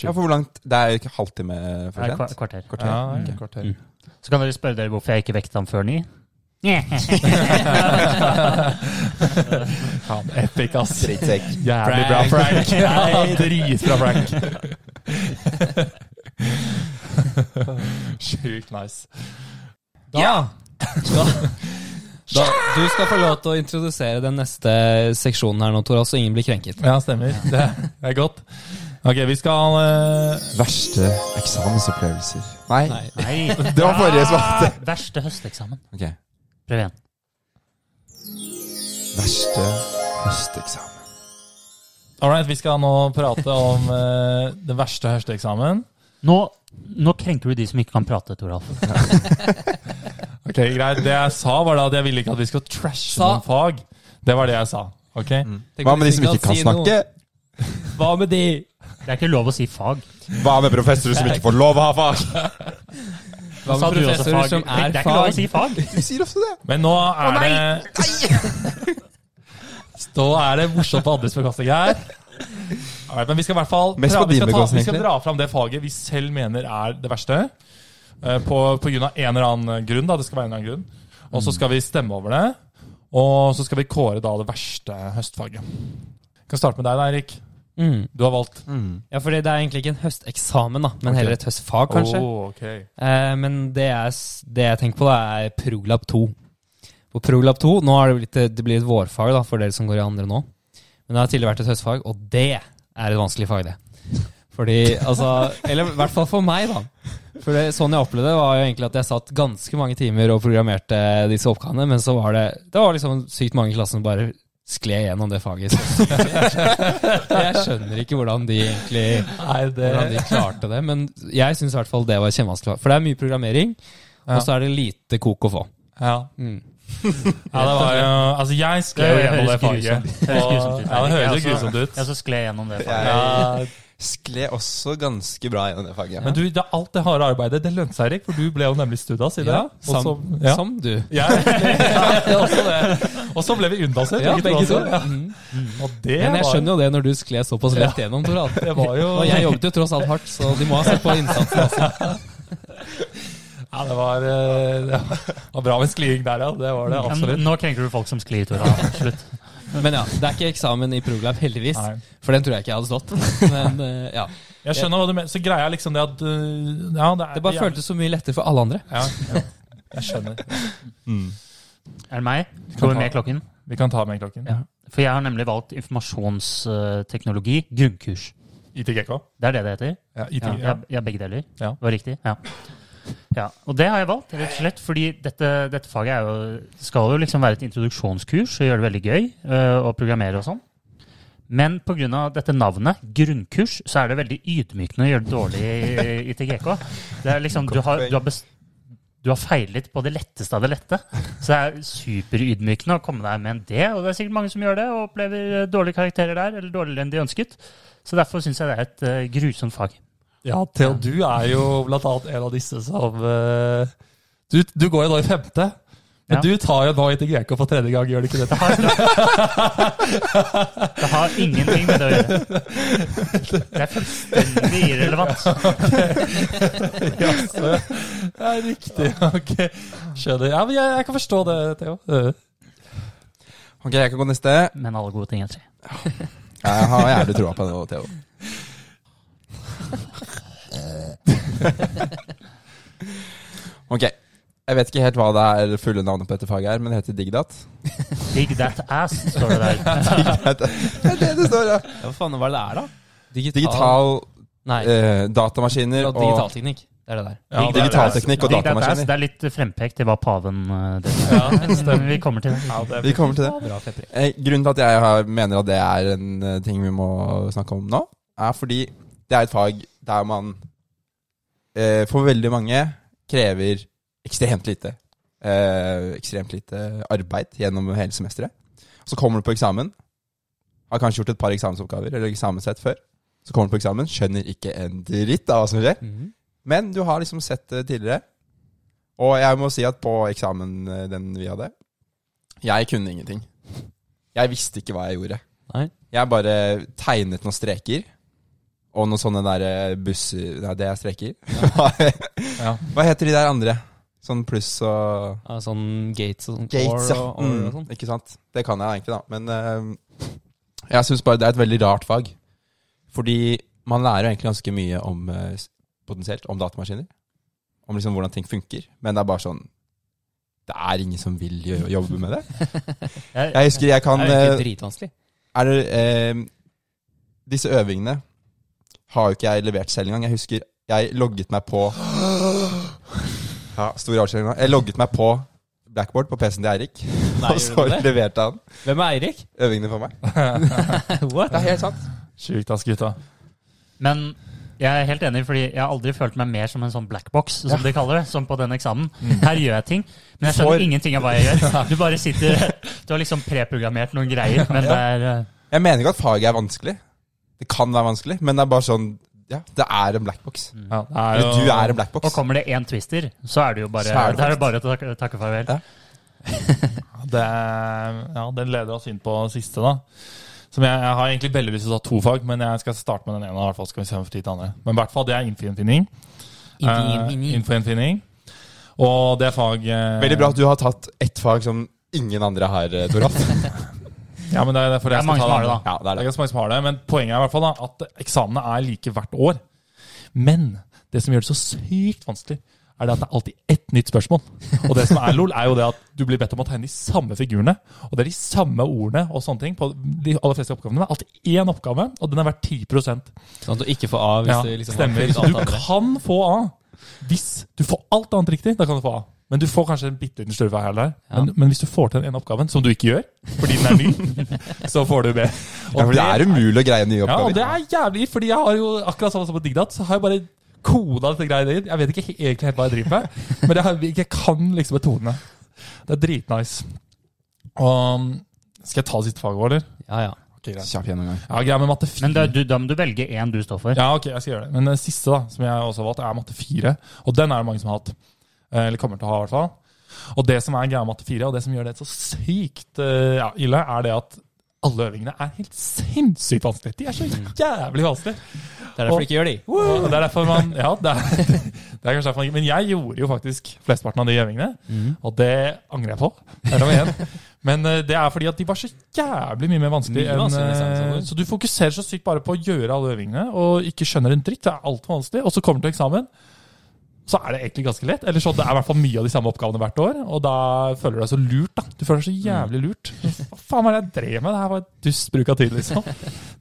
[SPEAKER 1] Ja, for hvor langt? Det er jo ikke halvtime eh, for
[SPEAKER 3] Nei, kva-
[SPEAKER 1] sent?
[SPEAKER 3] kvarter.
[SPEAKER 1] Kvarter.
[SPEAKER 4] ja
[SPEAKER 1] ok.
[SPEAKER 4] ok, kvarter.
[SPEAKER 2] Mm.
[SPEAKER 3] Så kan dere spørre dere hvorfor jeg ikke vekket ham før ni.
[SPEAKER 4] Faen, epic, ass.
[SPEAKER 1] Drittsekk.
[SPEAKER 4] Jævlig bra, Frank. Ja, Dritbra, Frank. Sjukt nice.
[SPEAKER 2] Ja! Da, da, du skal få lov til å introdusere den neste seksjonen her nå, Tor, så ingen blir krenket.
[SPEAKER 4] Ja, stemmer. Det er godt. Ok, vi skal eh,
[SPEAKER 1] Verste eksamensopplevelser. Nei.
[SPEAKER 2] Nei.
[SPEAKER 3] Nei.
[SPEAKER 1] Det var forrige svarte.
[SPEAKER 3] Ah, Verste høsteksamen.
[SPEAKER 1] Ok.
[SPEAKER 3] Prøv igjen.
[SPEAKER 1] Verste høsteksamen.
[SPEAKER 4] Alright, vi skal nå prate om eh, det verste høsteeksamen.
[SPEAKER 3] Nå, nå krenker du de som ikke kan prate, Toralf.
[SPEAKER 4] Ok, greit. Det jeg sa, var da at jeg ville ikke at vi skal trashe
[SPEAKER 2] Sa.
[SPEAKER 4] noen fag. Det var det jeg sa. Ok?
[SPEAKER 2] Tenk
[SPEAKER 1] Hva
[SPEAKER 2] om
[SPEAKER 1] med de som ikke kan
[SPEAKER 2] si
[SPEAKER 1] snakke?
[SPEAKER 2] noe. Hva med de?
[SPEAKER 3] Det er ikke lov å si fag.
[SPEAKER 1] Hva med professorer som ikke får lov å ha fag?
[SPEAKER 2] Hva
[SPEAKER 3] Sa
[SPEAKER 2] med
[SPEAKER 3] du også
[SPEAKER 2] professorer
[SPEAKER 3] fag?
[SPEAKER 2] som
[SPEAKER 3] Det
[SPEAKER 2] er
[SPEAKER 3] er ikke lov å
[SPEAKER 2] fag?
[SPEAKER 3] si fag.
[SPEAKER 1] Du sier ofte det.
[SPEAKER 4] Men nå er det Da er det morsomt på andres bekostning her. Alright, men vi skal i hvert fall
[SPEAKER 1] Mest på
[SPEAKER 4] vi, skal
[SPEAKER 1] din bekostning,
[SPEAKER 4] vi skal
[SPEAKER 1] egentlig.
[SPEAKER 4] dra fram det faget vi selv mener er det verste. eh, På, på grunn av en eller annen grunn. da, det skal være en eller annen grunn. Og
[SPEAKER 1] Mm.
[SPEAKER 4] så skal vi stemme over det. Og så skal vi kåre da det verste høstfaget. Vi kan starte med deg da, Erik.
[SPEAKER 2] Mm.
[SPEAKER 4] Du har valgt.
[SPEAKER 2] Ja, fordi det er egentlig ikke en høsteksamen, da, men
[SPEAKER 4] Ok.
[SPEAKER 2] heller et høstfag, kanskje.
[SPEAKER 4] Åh, Oh, ok.
[SPEAKER 2] Eh, men det, er, s- det jeg tenker på, da, er Prolab 2. På Prolab 2 nå har det blitt, det blir et vårfag da, for dere som går i andre nå. Men det har tidligere vært et høstfag, og det er et vanskelig fag, det. Fordi, altså, Eller i hvert fall for meg, da. For det, Sånn jeg opplevde det, var jo egentlig at jeg satt ganske mange timer og programmerte disse oppgavene, men så var det Det var liksom sykt mange i klassen som bare skled gjennom det faget. Så jeg skjønner ikke hvordan de egentlig
[SPEAKER 4] Nei, det
[SPEAKER 2] hvordan de klarte det. Men jeg syns i hvert fall det var kjempevanskelig. For det er mye programmering,
[SPEAKER 4] Ja.
[SPEAKER 2] og så er det lite kok å få.
[SPEAKER 4] Ja. Ja, det var jo Altså, jeg skrev
[SPEAKER 3] Det
[SPEAKER 4] gjennom
[SPEAKER 3] høres
[SPEAKER 4] det faget.
[SPEAKER 3] grusomt- høres
[SPEAKER 4] Og-
[SPEAKER 3] grusomt ut,
[SPEAKER 4] Ja,
[SPEAKER 3] Erik.
[SPEAKER 4] det høres jo
[SPEAKER 3] Jeg også-
[SPEAKER 4] grusomt ut.
[SPEAKER 3] Jeg så skled gjennom det faget.
[SPEAKER 4] Ja,
[SPEAKER 1] Skled også ganske bra gjennom det faget.
[SPEAKER 4] men du, det, alt det harde arbeidet, det lønte seg, Erik, for du ble jo nemlig studas i det.
[SPEAKER 2] Ja,
[SPEAKER 4] og så,
[SPEAKER 2] som,
[SPEAKER 4] ja.
[SPEAKER 2] som du.
[SPEAKER 4] Ja, også det. Og så ble vi unnbasert,
[SPEAKER 2] Ja, begge to.
[SPEAKER 4] Ja.
[SPEAKER 2] Mhm.
[SPEAKER 4] Og det
[SPEAKER 2] Men jeg
[SPEAKER 4] var,
[SPEAKER 2] skjønner jo det når du skled såpass rett gjennom, Toralf.
[SPEAKER 4] det var jo
[SPEAKER 2] Og jeg jobbet jo tross alt hardt, så de må ha sett på innsatsen. Altså.
[SPEAKER 4] Ja, det var, eh, det var bra med skliing der, ja. Det var
[SPEAKER 2] Mm,
[SPEAKER 4] det absolutt.
[SPEAKER 3] Men Nå krenker du folk som sklir, Toralf. Slutt.
[SPEAKER 2] Men ja, det er ikke eksamen i Prolab, heldigvis.
[SPEAKER 4] Nei.
[SPEAKER 2] For den tror jeg ikke jeg hadde stått. Men eh, ja.
[SPEAKER 4] Jeg skjønner hva du mener. Så greia er liksom det at eh, ja, det, er,
[SPEAKER 2] Det bare føltes så mye lettere for alle andre.
[SPEAKER 4] ja, ja. Jeg skjønner.
[SPEAKER 3] Er det meg? Skal vi med klokken?
[SPEAKER 4] Vi kan ta med klokken.
[SPEAKER 3] Ja. For jeg har nemlig valgt informasjonsteknologi, grunnkurs.
[SPEAKER 4] ITGK.
[SPEAKER 3] Det er det det heter.
[SPEAKER 4] Ja, IT,
[SPEAKER 3] Ja,
[SPEAKER 4] ja.
[SPEAKER 3] ja. begge deler.
[SPEAKER 4] Ja.
[SPEAKER 3] Det var riktig. Ja. ja. Og det har jeg valgt, rett og slett, fordi dette, dette faget er jo, skal jo liksom være et introduksjonskurs og gjøre det veldig gøy øh, å programmere og sånn. Men pga. dette navnet, grunnkurs, så er det veldig ydmykende å gjøre det dårlig i, i TGK. Det er liksom, du har, du har best du har feilet på det letteste av det lette. Så det er superydmykende å komme deg med en D. Og det er sikkert mange som gjør det og opplever eh, dårlige karakterer der, eller dårligere enn de ønsket. Så derfor syns jeg det er et eh, grusomt fag.
[SPEAKER 4] Ja, Theo, du er jo blant annet en av disse som eh, du, du går jo nå i femte, men
[SPEAKER 3] Ja.
[SPEAKER 4] du tar jo nå ITGK for tredje gang, gjør du ikke det?
[SPEAKER 3] Det har, det har ingenting med det å gjøre. Det er fullstendig irrelevant.
[SPEAKER 4] Ja, det er riktig. Ok, skjønner. Ja, men jeg, jeg kan forstå det, Theo. Eh,
[SPEAKER 1] Ok, jeg kan gå neste.
[SPEAKER 3] Men alle gode ting er tre.
[SPEAKER 1] Jeg har jævlig troa på det, Theo. ok. Jeg vet ikke helt hva det er fulle navnet på dette faget er, men det heter Digdat.
[SPEAKER 3] Dig that ass, står det der.
[SPEAKER 1] det er det det står, ja.
[SPEAKER 2] Ja, Hva faen var det det er, da? Digital,
[SPEAKER 1] Digital
[SPEAKER 2] Nei,
[SPEAKER 1] eh, datamaskiner
[SPEAKER 2] og
[SPEAKER 1] og
[SPEAKER 2] digitalteknikk. Det er det der.
[SPEAKER 3] Dig
[SPEAKER 4] Ja, det er
[SPEAKER 3] that
[SPEAKER 4] det.
[SPEAKER 1] digitalteknikk og
[SPEAKER 3] Dig that ass,
[SPEAKER 1] datamaskiner.
[SPEAKER 3] Det er litt frempekt til hva paven eh, drev med.
[SPEAKER 4] Ja,
[SPEAKER 3] Men eh, Vi kommer til det.
[SPEAKER 4] ja, det
[SPEAKER 1] Vi kommer til det.
[SPEAKER 2] Bra fepper.
[SPEAKER 1] Eh, grunnen til at jeg har, mener at det er en eh, ting vi må snakke om nå, er fordi det er et fag der man eh, for veldig mange krever ekstremt lite. Eh, ekstremt lite arbeid gjennom hele semesteret. Så kommer du på eksamen, har kanskje gjort et par eksamensoppgaver eller eksamenssett før. Så kommer du på eksamen, skjønner ikke en dritt av hva som skjer.
[SPEAKER 2] Mhm.
[SPEAKER 1] Men du har liksom sett det tidligere. Og jeg må si at på eksamen eh, den vi hadde, jeg kunne ingenting. Jeg visste ikke hva jeg gjorde.
[SPEAKER 2] Nei.
[SPEAKER 1] Jeg bare tegnet noen streker. Og noen sånne der eh, busser Nei, det er streker.
[SPEAKER 4] Ja.
[SPEAKER 1] Hva heter de der andre? Sånn pluss og
[SPEAKER 2] Ja, sånn gates og sånn.
[SPEAKER 1] Gates,
[SPEAKER 2] or,
[SPEAKER 1] ja.
[SPEAKER 2] og, or, og
[SPEAKER 1] Mm,
[SPEAKER 2] sånn.
[SPEAKER 1] ikke sant? Det kan jeg egentlig, da. Men eh, jeg syns bare det er et veldig rart fag. Fordi man lærer jo egentlig ganske mye om eh, s- potensielt om datamaskiner. Om liksom hvordan ting funker. Men det er bare sånn Det er ingen som vil gjø- jobbe med det.
[SPEAKER 3] Jeg,
[SPEAKER 1] Jeg husker jeg kan
[SPEAKER 2] det er jo
[SPEAKER 1] eh,
[SPEAKER 2] ikke dritvanskelig.
[SPEAKER 1] er det, eh, Disse øvingene har jo ikke jeg levert selv engang. Jeg husker jeg logget meg på ja, Stor avskjed nå. Jeg logget meg på Blackboard på PC-en til Eirik,
[SPEAKER 2] Nei,
[SPEAKER 1] og så
[SPEAKER 2] gjør du det?
[SPEAKER 1] leverte han
[SPEAKER 2] Hvem er Eirik?
[SPEAKER 1] øvingene for meg.
[SPEAKER 2] What?
[SPEAKER 1] Det er helt sant.
[SPEAKER 4] Sjukt, ass, gutta.
[SPEAKER 3] men jeg er helt enig, fordi jeg har aldri følt meg mer som en sånn blackbox, som de kaller det, som på den eksamen. Her gjør jeg ting, men jeg skjønner
[SPEAKER 1] Får-
[SPEAKER 3] ingenting av hva jeg gjør. Du bare sitter Du har liksom preprogrammert noen greier, men det er eh,
[SPEAKER 1] Jeg mener ikke at faget er vanskelig. Det kan være vanskelig, men det er bare sånn Ja, det er en blackbox.
[SPEAKER 4] Ja, det er
[SPEAKER 1] Mm. Eller
[SPEAKER 4] jo-
[SPEAKER 1] du er en blackbox.
[SPEAKER 3] Og kommer det én twister, så er det jo bare,
[SPEAKER 1] Så er det
[SPEAKER 3] da er det bare å takke, takke farvel.
[SPEAKER 1] Ja.
[SPEAKER 4] Det, ja, den leder oss inn på siste, da. Som jeg, jeg har egentlig veldig lyst til å ta to fag, men jeg skal starte med den ene. i hvert fall skal vi se om vi får tid til andre. Men i hvert fall, det er infoinnfinning.
[SPEAKER 2] Infoinnfinning.
[SPEAKER 4] Eh, infoinnfinning. Og det er fag eh,
[SPEAKER 1] Veldig bra at du har tatt ett fag som ingen andre har, eh, Toralf.
[SPEAKER 4] Ja, men det er derfor
[SPEAKER 3] Det er
[SPEAKER 4] jeg skal
[SPEAKER 3] mange
[SPEAKER 4] ta
[SPEAKER 3] som har
[SPEAKER 4] den.
[SPEAKER 3] det, da.
[SPEAKER 1] Ja, det
[SPEAKER 4] Det
[SPEAKER 1] er
[SPEAKER 4] er
[SPEAKER 1] det.
[SPEAKER 4] ganske mange som har det, men poenget er i hvert fall da, at eksamene er like hvert år. Men det som gjør det så sykt vanskelig, er det at det er alltid ett nytt spørsmål. Og det som er lol, er jo det at du blir bedt om å tegne de samme figurene, og det er de samme ordene og sånne ting på de aller fleste oppgavene. Det er alltid én oppgave, og den er verdt 10
[SPEAKER 2] Sånn at du ikke får A hvis
[SPEAKER 4] ja,
[SPEAKER 2] du liksom har
[SPEAKER 4] stemmer.
[SPEAKER 2] fulgt alt
[SPEAKER 4] Du
[SPEAKER 2] andre.
[SPEAKER 4] kan få A. Hvis du får alt annet riktig, da kan du få A. Men du får kanskje en bitte liten slurve her eller der.
[SPEAKER 2] Ja.
[SPEAKER 4] Men, men hvis du får til den ene oppgaven, som du ikke gjør, fordi den er ny, så får du B.
[SPEAKER 1] Ja, for det er umulig å greie nye
[SPEAKER 4] Ja, og
[SPEAKER 1] oppgaver.
[SPEAKER 4] det er jævlig, fordi jeg har jo akkurat samme som på Digdat, så har jeg bare koda dette greia inn. Jeg vet ikke he- egentlig helt hva jeg driver med, men jeg, har, jeg kan liksom metodene. Det er dritnice. Og um, skal jeg ta siste faget vårt, eller?
[SPEAKER 2] Ja, ja.
[SPEAKER 1] Kjapp gjennomgang.
[SPEAKER 4] Ja, greia med matte 4.
[SPEAKER 3] Men da, du, da må du velge én du står for.
[SPEAKER 4] Ja, ok, jeg skal gjøre det. Men den siste, da, som jeg også har valgt, er matte 4. Og den er det mange som har hatt. Eh, Eller kommer til å ha, i hvert fall. Og det som er greia med matte 4, og det som gjør det så sykt eh, ja, ille, er det at alle øvingene er helt sinnssykt vanskelig. De er så jævlig vanskelig.
[SPEAKER 2] Det er derfor du ikke gjør de.
[SPEAKER 4] Og det er derfor man Ja, det er, det er kanskje derfor man ikke Men jeg gjorde jo faktisk flesteparten av de øvingene, og det angrer jeg på. Der og igjen. Men eh, det er fordi at de var så jævlig mye mer vanskelig
[SPEAKER 2] Mye
[SPEAKER 4] enn
[SPEAKER 2] vanskeligere,
[SPEAKER 4] eh,
[SPEAKER 2] sant, sant.
[SPEAKER 4] Så du fokuserer så sykt bare på å gjøre alle øvingene og ikke skjønner en dritt. Det er altfor vanskelig. Og så kommer du til eksamen, så er det egentlig ganske lett. Eller så det er i hvert fall mye av de samme oppgavene hvert år, og da føler du deg så lurt, da. Du føler deg så jævlig lurt. Hva faen var det jeg drev med? Det her var et dust bruk av tid, liksom.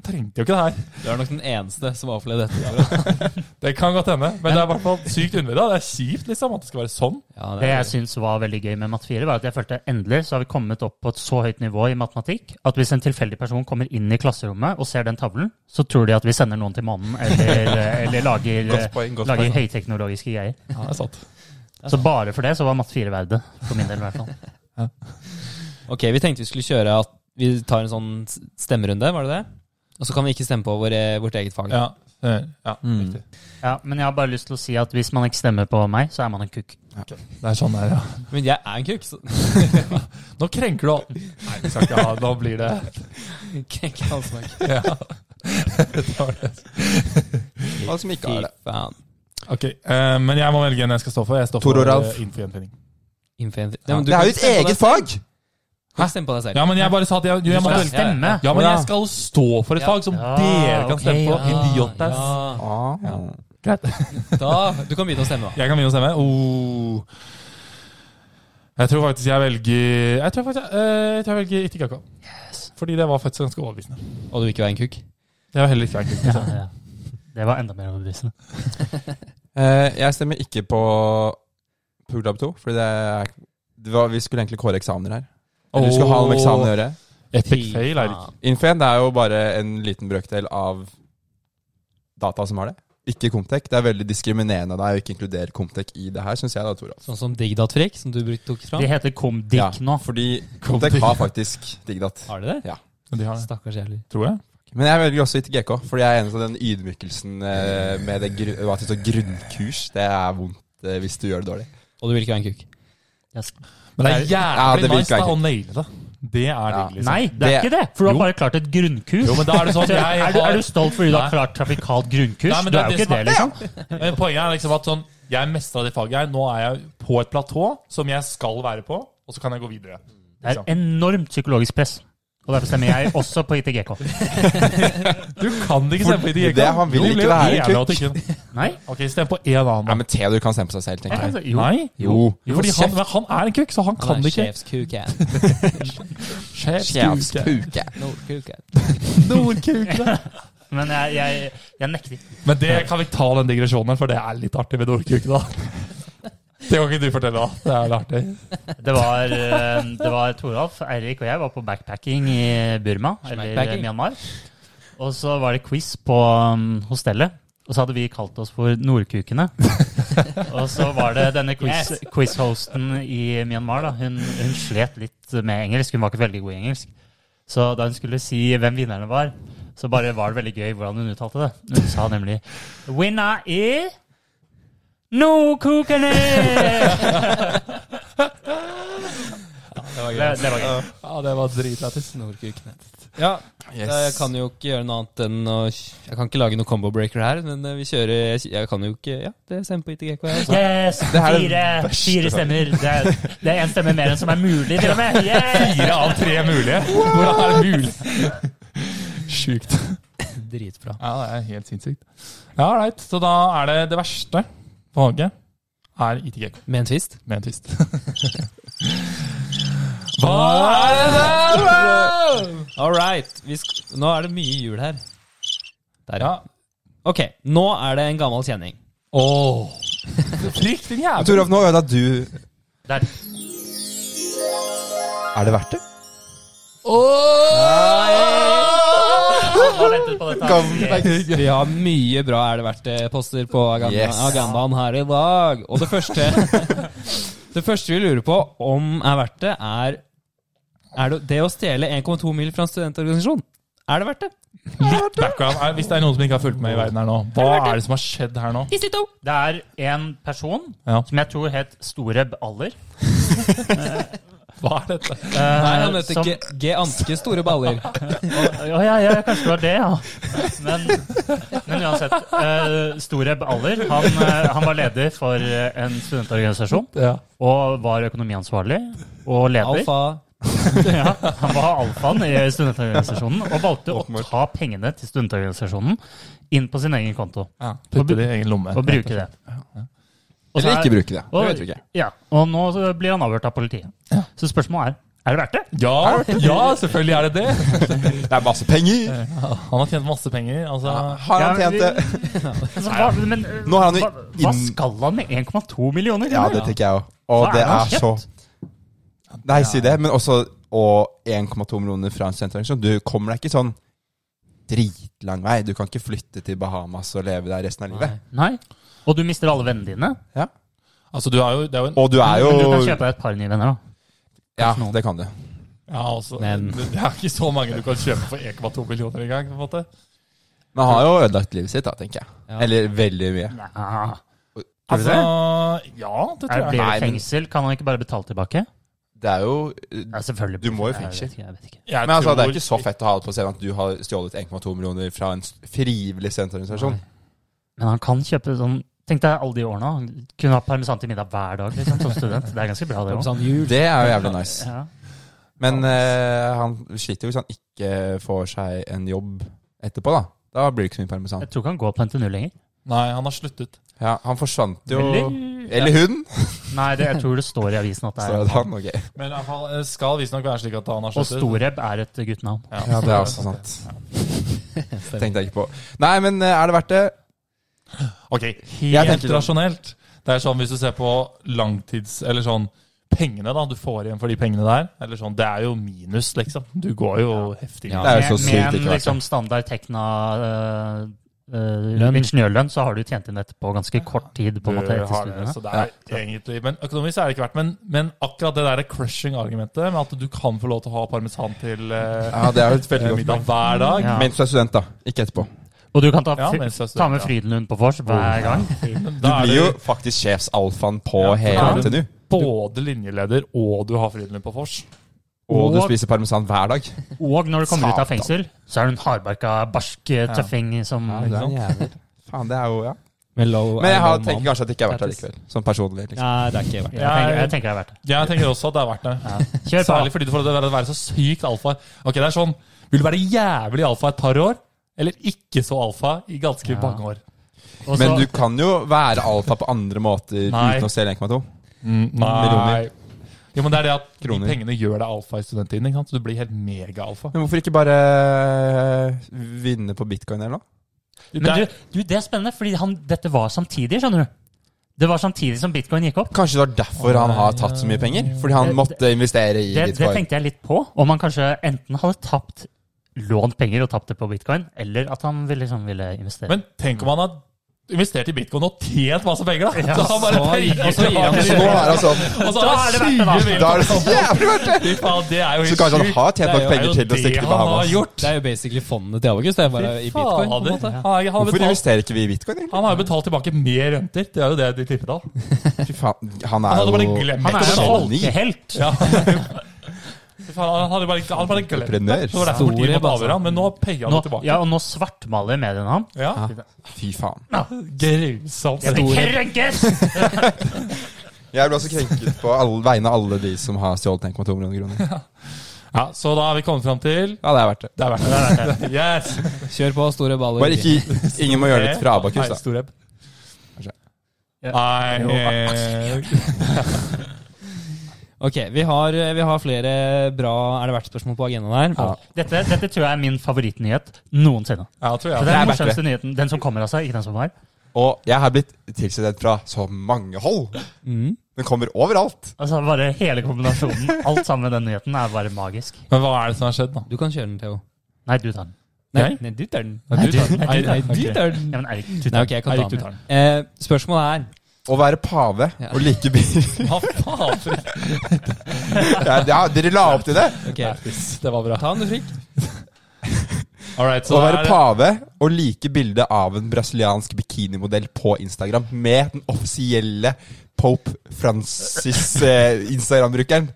[SPEAKER 4] Trengte jo ikke det her.
[SPEAKER 2] Du er nok den eneste som har opplevd dette.
[SPEAKER 4] Det kan godt hende, men det er i hvert fall sykt underlig. da. Det er kjipt liksom, at det skal være sånn.
[SPEAKER 2] Ja,
[SPEAKER 3] Det jeg syns var veldig gøy med Matt 4, var at jeg følte endelig så har vi kommet opp på et så høyt nivå i matematikk at hvis en tilfeldig person kommer inn i klasserommet og ser den tavlen, så tror de at vi sender noen til månen eller, eller lager,
[SPEAKER 1] Godt poeng, godt
[SPEAKER 3] Eh, lager
[SPEAKER 1] poeng.
[SPEAKER 3] høyteknologiske greier.
[SPEAKER 4] Ja, det er sant.
[SPEAKER 3] Så bare for det så var Matt 4 verdt det, for min del i hvert fall.
[SPEAKER 2] Ok, vi tenkte vi skulle kjøre at vi tar en sånn s- stemmerunde, var det det? Og så kan vi ikke stemme på våre, vårt eget fag.
[SPEAKER 4] Ja, eh, ja riktig.
[SPEAKER 3] Ja, men jeg har bare lyst til å si at hvis man ikke stemmer på meg, så er man en kukk.
[SPEAKER 4] Det er sånn der, ja.
[SPEAKER 2] Men jeg er en kuk, så
[SPEAKER 4] Nå krenker du alt. Nei, vi skal ikke ha Nå blir det
[SPEAKER 2] krenker jeg altså meg.
[SPEAKER 4] ja. Det var det.
[SPEAKER 1] Alle som ikke
[SPEAKER 2] Fy
[SPEAKER 1] har det.
[SPEAKER 2] faen.
[SPEAKER 4] Ok, eh, Men jeg må velge en jeg skal stå for. Jeg står
[SPEAKER 1] Tor og
[SPEAKER 4] for
[SPEAKER 1] Ralf.
[SPEAKER 4] eh, infogjenfinning.
[SPEAKER 2] Info- Ja, men du
[SPEAKER 1] Det er
[SPEAKER 2] kan
[SPEAKER 1] jo
[SPEAKER 2] ikke
[SPEAKER 1] et
[SPEAKER 2] stemme på deg-
[SPEAKER 1] eget fag!
[SPEAKER 2] Du kan ikke stemme på deg selv.
[SPEAKER 4] Ja, men jeg bare sa at jeg, jo, jeg måtte
[SPEAKER 3] skal
[SPEAKER 4] velge.
[SPEAKER 3] stemme!
[SPEAKER 4] Ja, men
[SPEAKER 1] Ja.
[SPEAKER 4] jeg skal stå for et
[SPEAKER 2] Ja.
[SPEAKER 4] fag som
[SPEAKER 3] Ja,
[SPEAKER 4] dere kan
[SPEAKER 3] ok,
[SPEAKER 4] stemme på.
[SPEAKER 3] ja,
[SPEAKER 4] Idiotas.
[SPEAKER 2] Ja,
[SPEAKER 1] Ja.
[SPEAKER 2] da, du kan begynne å stemme, da.
[SPEAKER 4] Jeg kan begynne å stemme. Oh. Jeg tror faktisk jeg velger Jeg tror faktisk jeg, eh, jeg, tror jeg velger Itikaka. Fordi det var faktisk ganske overbevisende.
[SPEAKER 2] Og du ikke er en kuk.
[SPEAKER 4] Jeg var heller ikke en kuk.
[SPEAKER 3] Ja, ja. Det var enda mer overbevisende.
[SPEAKER 1] Eh, jeg stemmer ikke på Program 2, for det er det var, Vi skulle egentlig kåre eksamener her. Eller vi skulle ha noe med eksamen å gjøre.
[SPEAKER 4] Epic fail, Eirik.
[SPEAKER 1] Info1 er jo bare en liten brøkdel av data som har det. Ikke Comtec. Det er veldig diskriminerende av deg å ikke inkludere Comtec i det her, syns jeg da, Toralf.
[SPEAKER 2] Sånn som Digdat-frik, som du bruk- tok fram.
[SPEAKER 3] De heter Komdik
[SPEAKER 1] Ja.
[SPEAKER 3] nå.
[SPEAKER 1] Fordi Comtec har faktisk Digdat.
[SPEAKER 2] Har de det?
[SPEAKER 4] De har det,
[SPEAKER 2] Stakkars jævlig.
[SPEAKER 4] tror jeg.
[SPEAKER 1] Men jeg velger også ikke GK, fordi jeg er enig i den ydmykelsen eh, med det gru at det står grunnkurs. Det er vondt eh, hvis du gjør det dårlig.
[SPEAKER 2] Og du vil ikke være en kuk.
[SPEAKER 3] Yes.
[SPEAKER 4] Men det er jævlig
[SPEAKER 1] Ja, det
[SPEAKER 4] nice
[SPEAKER 1] virker
[SPEAKER 4] da,
[SPEAKER 1] ikke.
[SPEAKER 4] å naile det. Det er
[SPEAKER 1] Ja.
[SPEAKER 4] digg, liksom.
[SPEAKER 3] Nei, det er
[SPEAKER 1] Det-
[SPEAKER 3] ikke det! For du
[SPEAKER 4] Jo.
[SPEAKER 3] har bare klart et grunnkurs.
[SPEAKER 4] Jo, men da er det sånn
[SPEAKER 3] Så
[SPEAKER 4] jeg
[SPEAKER 3] er, du,
[SPEAKER 4] har
[SPEAKER 3] er du stolt fordi du har
[SPEAKER 4] Nei.
[SPEAKER 3] klart trafikalt grunnkurs?
[SPEAKER 4] Nei, men
[SPEAKER 3] du
[SPEAKER 4] det er
[SPEAKER 3] er jo
[SPEAKER 4] det
[SPEAKER 3] ikke
[SPEAKER 4] som
[SPEAKER 3] det,
[SPEAKER 4] er-
[SPEAKER 3] liksom.
[SPEAKER 4] Men Poenget er liksom at sånn Jeg mestra det faget her. Nå er jeg på et platå som jeg skal være på, og så kan jeg gå videre.
[SPEAKER 3] Det er enormt psykologisk press. Og derfor stemmer jeg også på ITGK.
[SPEAKER 4] Du kan ikke stemme på IDGK.
[SPEAKER 1] Det er- han vil
[SPEAKER 4] Jo,
[SPEAKER 1] ikke
[SPEAKER 4] ble jo
[SPEAKER 1] være en
[SPEAKER 4] jævla at du ikke-
[SPEAKER 3] Nei?
[SPEAKER 4] Ok, stem på én annen.
[SPEAKER 1] Nei,
[SPEAKER 4] da.
[SPEAKER 1] men Theo, du kan stemme på seg selv, tenker jeg.
[SPEAKER 3] Altså, jo.
[SPEAKER 4] Nei?
[SPEAKER 1] Jo.
[SPEAKER 4] Jo, fordi han, men han er en kukk, så han kan det ikke.
[SPEAKER 2] Sjefskuken.
[SPEAKER 4] Sjefskuke.
[SPEAKER 1] Sjefskuke.
[SPEAKER 2] Nordkuken.
[SPEAKER 4] Nordkuke.
[SPEAKER 3] Men jeg, jeg, jeg nekter.
[SPEAKER 4] Men det kan vi ta den digresjonen, for det er litt artig med nordkuke, da. Det kan ikke du fortelle, da. Det er litt artig.
[SPEAKER 3] Det var, eh, det var Toralf, Eirik og jeg var på backpacking i Burma, eller
[SPEAKER 2] Backpacking.
[SPEAKER 3] Myanmar. Og så var det quiz på um, hostellet, og så hadde vi kalt oss for Nordkukene. og så var det denne quiz,
[SPEAKER 2] Yes.
[SPEAKER 3] quiz-hosten i Myanmar, da. Hun, hun slet litt med engelsk, hun var ikke veldig god i engelsk. Så da hun skulle si hvem vinnerne var, så bare var det veldig gøy hvordan hun uttalte det. Hun sa nemlig Winner i Nordkukene! Det, det var gøy.
[SPEAKER 4] Ja, det var dritlættis.
[SPEAKER 2] Ja, jeg
[SPEAKER 1] Yes.
[SPEAKER 2] kan jo ikke gjøre noe annet enn å Jeg kan ikke lage noe combo breaker her, men eh, vi kjører Jeg, jeg kan jo ikke Ja, det stemmer på ITGK. Jeg, altså.
[SPEAKER 3] Yes!
[SPEAKER 1] Det her er
[SPEAKER 3] Fire,
[SPEAKER 1] den beste
[SPEAKER 3] fire stemmer. Det er, det er en stemme mer enn som er mulig, til og med. Yes!
[SPEAKER 4] Fire av tre mulige. Hvordan er det mulig? Sjukt.
[SPEAKER 2] Dritbra.
[SPEAKER 4] Ja, det er helt sinnssykt. Ja, right. Så da er det det verste på Norge er ITGK
[SPEAKER 2] Med en twist.
[SPEAKER 4] med en twist. Hva er det der? bro?
[SPEAKER 2] All right. Vi sk nå er det mye jul her. Der,
[SPEAKER 4] Ja.
[SPEAKER 2] ja. Ok, nå er det en gammel kjenning.
[SPEAKER 4] Åh. Frykk din
[SPEAKER 1] Men
[SPEAKER 4] jævel.
[SPEAKER 1] Toralf, nå ødela du
[SPEAKER 3] Der.
[SPEAKER 1] Er det verdt det?
[SPEAKER 3] Han har ventet på dette.
[SPEAKER 1] Kom.
[SPEAKER 2] Vi har mye bra Er det verdt det-poster på agenda,
[SPEAKER 1] Yes.
[SPEAKER 2] agendaen her i dag. Og det første Det første vi lurer på om er verdt det, er Er det, det å stjele 1,2 mil fra en studentorganisasjon. Er det verdt det?
[SPEAKER 4] Litt background. Er- Hvis det er noen som ikke har fulgt med i verden her nå, hva er det som har skjedd her nå?
[SPEAKER 2] Isito!
[SPEAKER 3] Det er en person
[SPEAKER 4] Ja.
[SPEAKER 3] som jeg tror het Storeb Aller.
[SPEAKER 4] Hva er dette?
[SPEAKER 3] eh,
[SPEAKER 2] Nei, han heter
[SPEAKER 3] som-
[SPEAKER 2] G,
[SPEAKER 4] Eh,
[SPEAKER 2] G. Anske Store Baller.
[SPEAKER 3] Å ja, ja, kanskje det var det, ja. Men, men uansett. eh, Storeb Aller han, eh, han var leder for eh, en studentorganisasjon.
[SPEAKER 4] Ja.
[SPEAKER 3] Og var økonomiansvarlig og leder.
[SPEAKER 2] Alfa.
[SPEAKER 3] Ja, han var alfaen i studentorganisasjonen og valgte å ta pengene til studentorganisasjonen inn på sin egen konto
[SPEAKER 4] Ja, Putte det i egen lomme.
[SPEAKER 3] og bruke det. Og så
[SPEAKER 1] Eller
[SPEAKER 3] er-
[SPEAKER 1] ikke bruke det. Det
[SPEAKER 3] og-
[SPEAKER 1] vet vi ikke.
[SPEAKER 3] Ja, og nå så blir han avhørt av politiet. Så spørsmålet er er det verdt det?
[SPEAKER 4] Ja, ja, selvfølgelig er det det.
[SPEAKER 1] Det er masse penger!
[SPEAKER 4] Han har tjent masse penger. Altså,
[SPEAKER 1] Har han
[SPEAKER 3] Ja,
[SPEAKER 1] tjent det?
[SPEAKER 3] Så hva, men, eh,
[SPEAKER 1] Nå har han jo
[SPEAKER 3] hva, hva
[SPEAKER 1] inn-
[SPEAKER 3] skal han med 1,2 millioner?
[SPEAKER 1] Ja, det tenker jeg òg. Og
[SPEAKER 3] Hva er
[SPEAKER 1] det
[SPEAKER 3] det han
[SPEAKER 1] er så
[SPEAKER 3] har
[SPEAKER 1] Nei, si det, men også og 1,2 millioner fra en senterorganisasjon. Du kommer deg ikke sånn dritlang vei. Du kan ikke flytte til Bahamas og leve der resten av livet.
[SPEAKER 3] Nei. Og du mister alle vennene dine.
[SPEAKER 4] altså du har jo, det er jo en
[SPEAKER 1] Og du er jo
[SPEAKER 3] Men du kan kjøpe deg et par nye venner, da.
[SPEAKER 1] Ja, det kan du.
[SPEAKER 4] ja, altså,
[SPEAKER 2] Men-
[SPEAKER 4] Det det er ikke så mange du kan kjøpe for 1,2 millioner engang. på en måte.
[SPEAKER 1] Men han har jo ødelagt livet sitt, da, tenker jeg.
[SPEAKER 2] Ja.
[SPEAKER 1] Eller veldig mye.
[SPEAKER 3] Nei.
[SPEAKER 1] Tror du
[SPEAKER 4] Altså,
[SPEAKER 1] det?
[SPEAKER 4] ja, det
[SPEAKER 3] Er,
[SPEAKER 4] tror
[SPEAKER 3] blir
[SPEAKER 4] jeg.
[SPEAKER 1] Nei,
[SPEAKER 3] det
[SPEAKER 1] men-
[SPEAKER 3] fengsel? Kan han ikke bare betale tilbake?
[SPEAKER 1] Det er jo
[SPEAKER 3] Ja, selvfølgelig.
[SPEAKER 1] Du må jo
[SPEAKER 3] Jeg vet
[SPEAKER 1] fengsel.
[SPEAKER 3] ikke, Jeg vet ikke.
[SPEAKER 4] jeg
[SPEAKER 1] Men altså, det er
[SPEAKER 4] tror-
[SPEAKER 1] ikke så fett å ha det på scenen at du har stjålet 1,2 millioner fra en s- frivillig senterorganisasjon.
[SPEAKER 3] Men han kan kjøpe sånn Tenk deg alle de årene. Han kunne ha parmesan til middag hver dag liksom, som student. Det er ganske bra, det òg.
[SPEAKER 2] Sånn jul.
[SPEAKER 1] Det er jo jævlig nice.
[SPEAKER 3] Ja.
[SPEAKER 1] Men eh, han sliter jo hvis han ikke får seg en jobb etterpå, da. Da blir det ikke så mye parmesan.
[SPEAKER 3] Jeg tror ikke han går på NTNU lenger.
[SPEAKER 4] Nei, han har sluttet.
[SPEAKER 1] Ja, han forsvant jo
[SPEAKER 3] Eller-
[SPEAKER 1] Eller hun!
[SPEAKER 3] Nei, det, jeg tror det står i avisen at det
[SPEAKER 1] Så
[SPEAKER 3] er
[SPEAKER 1] er det han, ok.
[SPEAKER 4] Men i hvert fall eh, skal visstnok være slik at han har
[SPEAKER 3] Og
[SPEAKER 4] sluttet.
[SPEAKER 3] Storeb er et guttenavn.
[SPEAKER 1] Ja, det er også sant. Tenkte jeg ikke på. Nei, men eh, er det verdt det?
[SPEAKER 4] Ok,
[SPEAKER 1] Jeg
[SPEAKER 4] helt
[SPEAKER 1] tenker sånn.
[SPEAKER 4] rasjonelt. Det er sånn hvis du ser på langtids... Eller sånn pengene da, du får igjen for de pengene der. Eller sånn, det er jo minus, liksom. Du går jo heftig.
[SPEAKER 2] Ja.
[SPEAKER 4] Ja.
[SPEAKER 1] Det er jo så
[SPEAKER 3] Med-
[SPEAKER 1] sykt
[SPEAKER 3] Med
[SPEAKER 1] ikke
[SPEAKER 3] en
[SPEAKER 1] verdt det.
[SPEAKER 3] liksom, standard Tekna eh, eh,
[SPEAKER 2] Lønn.
[SPEAKER 3] ingeniørlønn, så har du tjent inn etterpå ganske kort tid. på en måte etter studiene.
[SPEAKER 4] så det er egentlig, men økonomisk er det ikke verdt. Men, men akkurat det der crushing-argumentet med at du kan få lov til å ha parmesan til eh,
[SPEAKER 1] Ja, det er jo et veldig godt
[SPEAKER 4] middag hver dag
[SPEAKER 3] Ja.
[SPEAKER 1] Mens du er student, da. Ikke etterpå.
[SPEAKER 3] Og du kan ta,
[SPEAKER 4] Ja,
[SPEAKER 3] fri-
[SPEAKER 4] mens jeg er
[SPEAKER 3] ta med
[SPEAKER 4] student, ja.
[SPEAKER 3] Frydenlund på vors hver gang.
[SPEAKER 1] Du
[SPEAKER 4] Da er
[SPEAKER 1] blir jo faktisk sjefsalfaen på hele
[SPEAKER 4] da er du-
[SPEAKER 1] NTNU.
[SPEAKER 4] både linjeleder og du har Frydenlund på vors.
[SPEAKER 1] Og du
[SPEAKER 3] Og-
[SPEAKER 1] spiser parmesan hver dag.
[SPEAKER 3] Og når du kommer ut
[SPEAKER 1] Satan.
[SPEAKER 3] av fengsel, så er du en hardbarka, barsk eh, tøffing som
[SPEAKER 1] Faen, det er jo Ja.
[SPEAKER 2] Med low
[SPEAKER 1] Men jeg
[SPEAKER 2] er
[SPEAKER 1] har,
[SPEAKER 2] low
[SPEAKER 1] tenker
[SPEAKER 2] man.
[SPEAKER 1] kanskje at jeg ikke har vært her
[SPEAKER 2] Tattis.
[SPEAKER 1] likevel. Sånn personlig. liksom
[SPEAKER 2] Nei, det er ikke verdt det.
[SPEAKER 3] Jeg tenker, jeg tenker jeg er verdt det.
[SPEAKER 4] Jeg tenker også at det er verdt det.
[SPEAKER 3] Kjør på.
[SPEAKER 4] Særlig fordi du får det være så sykt alfa. Ok, det er sånn, Vil du være jævlig alfa et par år, eller ikke så alfa i ganske
[SPEAKER 3] Ja.
[SPEAKER 4] mange år?
[SPEAKER 3] Og så-
[SPEAKER 1] Men du kan jo være alfa på andre måter
[SPEAKER 4] Nei.
[SPEAKER 1] uten å stjele 1,2.
[SPEAKER 4] nei. Jo, men det er det at
[SPEAKER 1] Mm, Kroner.
[SPEAKER 4] de pengene gjør deg alfa i studenttiden. ikke sant? Så du blir helt mega-alfa.
[SPEAKER 1] Men hvorfor ikke bare eh, vinne på bitcoin eller noe?
[SPEAKER 4] Det
[SPEAKER 3] Men
[SPEAKER 4] er-
[SPEAKER 3] du, du, det er spennende, fordi han, dette var samtidig, skjønner du. Det var samtidig som bitcoin gikk opp.
[SPEAKER 1] Kanskje det var derfor han har tatt så mye penger? Fordi han
[SPEAKER 3] Det-
[SPEAKER 1] måtte investere i
[SPEAKER 3] Det, det
[SPEAKER 1] bitcoin?
[SPEAKER 3] tenkte jeg litt på. Om han kanskje enten hadde tapt lånt penger og tapt det på bitcoin, eller at han ville, liksom, ville investere.
[SPEAKER 4] Men tenk om han har investert i bitcoin og tjent masse penger, da!
[SPEAKER 3] Ja,
[SPEAKER 4] så han bare
[SPEAKER 2] så-
[SPEAKER 4] penger,
[SPEAKER 2] og så gir han
[SPEAKER 1] Så nå er han sånn.
[SPEAKER 4] Og så
[SPEAKER 3] Da
[SPEAKER 4] har
[SPEAKER 3] er det
[SPEAKER 4] han
[SPEAKER 3] verdt det, da.
[SPEAKER 4] 20 mil.
[SPEAKER 1] Da er det så jævlig verdt det!
[SPEAKER 4] Fy faen, det er jo
[SPEAKER 1] Så
[SPEAKER 4] helt
[SPEAKER 1] kanskje han
[SPEAKER 4] sjukt.
[SPEAKER 1] har tjent
[SPEAKER 4] Det er
[SPEAKER 1] nok
[SPEAKER 4] jo-
[SPEAKER 1] penger
[SPEAKER 4] det er
[SPEAKER 1] til å
[SPEAKER 4] jo
[SPEAKER 1] stikke
[SPEAKER 4] det
[SPEAKER 1] til
[SPEAKER 4] han har
[SPEAKER 1] Bahamas.
[SPEAKER 4] gjort.
[SPEAKER 2] Det er jo basically fondet til August. Det er bare i
[SPEAKER 4] Fy
[SPEAKER 2] bitcoin. på en
[SPEAKER 4] fader.
[SPEAKER 2] måte.
[SPEAKER 4] Han har- han har
[SPEAKER 1] Hvorfor
[SPEAKER 4] betalt-
[SPEAKER 1] investerer ikke vi i bitcoin? egentlig?
[SPEAKER 4] han har jo betalt tilbake mer renter. Det er jo det de tipper da.
[SPEAKER 1] Fy faen, han
[SPEAKER 4] Han
[SPEAKER 1] er
[SPEAKER 4] hadde bare
[SPEAKER 1] jo
[SPEAKER 4] glemt
[SPEAKER 3] han er
[SPEAKER 4] å
[SPEAKER 3] en
[SPEAKER 4] betale.
[SPEAKER 1] Geni.
[SPEAKER 3] folkehelt!
[SPEAKER 4] Ja. Fy faen, han hadde bare, han hadde bare glemt det.
[SPEAKER 1] Entreprenør.
[SPEAKER 4] Så det var derfor de
[SPEAKER 2] Store
[SPEAKER 4] måtte
[SPEAKER 2] baser.
[SPEAKER 4] avgjøre han, men nå payer han
[SPEAKER 3] Nå,
[SPEAKER 4] det tilbake.
[SPEAKER 3] ja, og nå svartmaler mediene ham.
[SPEAKER 4] Ja.
[SPEAKER 1] Fy faen.
[SPEAKER 4] Grusomt.
[SPEAKER 3] Jeg blir krenket!
[SPEAKER 1] Jeg ble også krenket på alle, vegne av alle de som har stjålet 1,2 millioner kroner.
[SPEAKER 4] Ja, så da har vi kommet fram til
[SPEAKER 1] Ja, det er verdt det.
[SPEAKER 4] Det er verdt det.
[SPEAKER 3] Der, der, der.
[SPEAKER 4] Yes!
[SPEAKER 2] Kjør på, store baller.
[SPEAKER 1] Bare ikke, ingen må gjøre det fra Abakus,
[SPEAKER 4] Nei,
[SPEAKER 1] da.
[SPEAKER 4] stor rep.
[SPEAKER 1] Kanskje.
[SPEAKER 4] Nei eh,
[SPEAKER 2] Ok, vi har, vi har flere bra Er det verdt spørsmål på agendaen her?
[SPEAKER 1] Ja.
[SPEAKER 3] Dette, dette tror jeg er min favorittnyhet noensinne.
[SPEAKER 4] Ja, tror
[SPEAKER 3] Så
[SPEAKER 4] jeg.
[SPEAKER 3] det er den
[SPEAKER 1] verdt det.
[SPEAKER 3] morsomste nyheten. Den som kommer av seg, ikke den som var.
[SPEAKER 1] Og jeg har blitt tilsendt fra så mange hold.
[SPEAKER 2] Mm.
[SPEAKER 1] Den kommer overalt.
[SPEAKER 3] Altså bare Hele kombinasjonen, alt sammen med den nyheten, er bare magisk.
[SPEAKER 4] Men hva er det som har skjedd, da?
[SPEAKER 2] Du kan kjøre den, Theo.
[SPEAKER 3] Nei, du tar den.
[SPEAKER 2] Nei,
[SPEAKER 4] Jeg?
[SPEAKER 2] nei du tar den.
[SPEAKER 4] Nei, du tar den.
[SPEAKER 2] Nei, nei,
[SPEAKER 4] Nei,
[SPEAKER 2] du
[SPEAKER 4] ok.
[SPEAKER 2] tar den.
[SPEAKER 3] Ja, men Erik, du
[SPEAKER 2] Nei,
[SPEAKER 3] tar
[SPEAKER 2] ok,
[SPEAKER 3] den.
[SPEAKER 2] jeg kan
[SPEAKER 4] Erik,
[SPEAKER 2] ta
[SPEAKER 4] du
[SPEAKER 2] den.
[SPEAKER 4] tar den.
[SPEAKER 2] Eh, spørsmålet er
[SPEAKER 1] Å være pave
[SPEAKER 2] Ja.
[SPEAKER 1] og like biler
[SPEAKER 4] Hva faen? for-
[SPEAKER 1] ja, ja, Dere la opp til det!
[SPEAKER 2] Ok,
[SPEAKER 4] Det var bra.
[SPEAKER 2] ta den du fikk.
[SPEAKER 4] All right,
[SPEAKER 1] Å
[SPEAKER 4] så
[SPEAKER 1] være
[SPEAKER 4] det er,
[SPEAKER 1] pave og like bilde av en brasiliansk bikinimodell på Instagram med den offisielle Pope eh, Francis-Instagram-brukeren.
[SPEAKER 4] ja,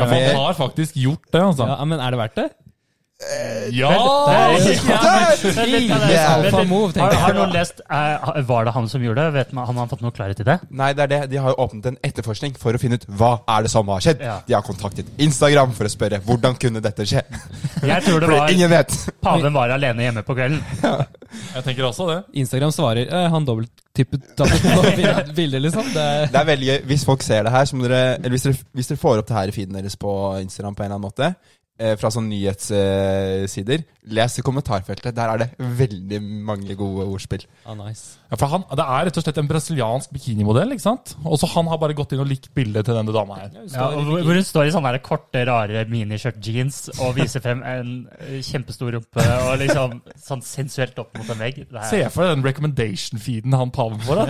[SPEAKER 2] Er det verdt
[SPEAKER 4] man har faktisk gjort det,
[SPEAKER 2] det?
[SPEAKER 4] altså.
[SPEAKER 2] Ja, men er det verdt det?
[SPEAKER 4] Ja!
[SPEAKER 3] Vent litt, vent litt,
[SPEAKER 1] Yeah.
[SPEAKER 3] vent litt.
[SPEAKER 2] Alpha move, tenker
[SPEAKER 3] Har,
[SPEAKER 2] jeg.
[SPEAKER 3] har noen lest eh, Var det han som gjorde det? Vet man, han har fått noe klarhet i det?
[SPEAKER 1] Nei, det er det. De har jo åpnet en etterforskning for å finne ut hva er det som har skjedd.
[SPEAKER 3] Ja.
[SPEAKER 1] De har kontaktet Instagram for å spørre hvordan kunne dette skje.
[SPEAKER 3] Jeg tror det
[SPEAKER 1] Fordi
[SPEAKER 3] var
[SPEAKER 1] ingen vet.
[SPEAKER 3] paven var alene hjemme på kvelden.
[SPEAKER 4] Jeg tenker også det.
[SPEAKER 2] Instagram svarer eh, han dobbelttippet dobbelt bildet, liksom. Det er,
[SPEAKER 1] Det er veldig gøy. Hvis folk ser det her, så må dere Eller hvis dere, hvis dere får opp det her i feeden deres på Instagram på en eller annen måte, eh, fra sånne nyhetssider, les i kommentarfeltet. Der er det veldig mange gode ordspill.
[SPEAKER 2] ah, nice.
[SPEAKER 4] Ja, for han, Det er rett og slett en brasiliansk bikinimodell. ikke sant? Og så han har bare gått inn og likt bildet til denne dama her.
[SPEAKER 3] Ja, og hvor hvor hun står i sånne der korte, rare miniskjørt-jeans og viser frem en eh, kjempestor rumpe og liksom sånn sensuelt opp mot en vegg. Det
[SPEAKER 4] Se
[SPEAKER 3] er,
[SPEAKER 4] for deg den recommendation-feeden han paven får. da.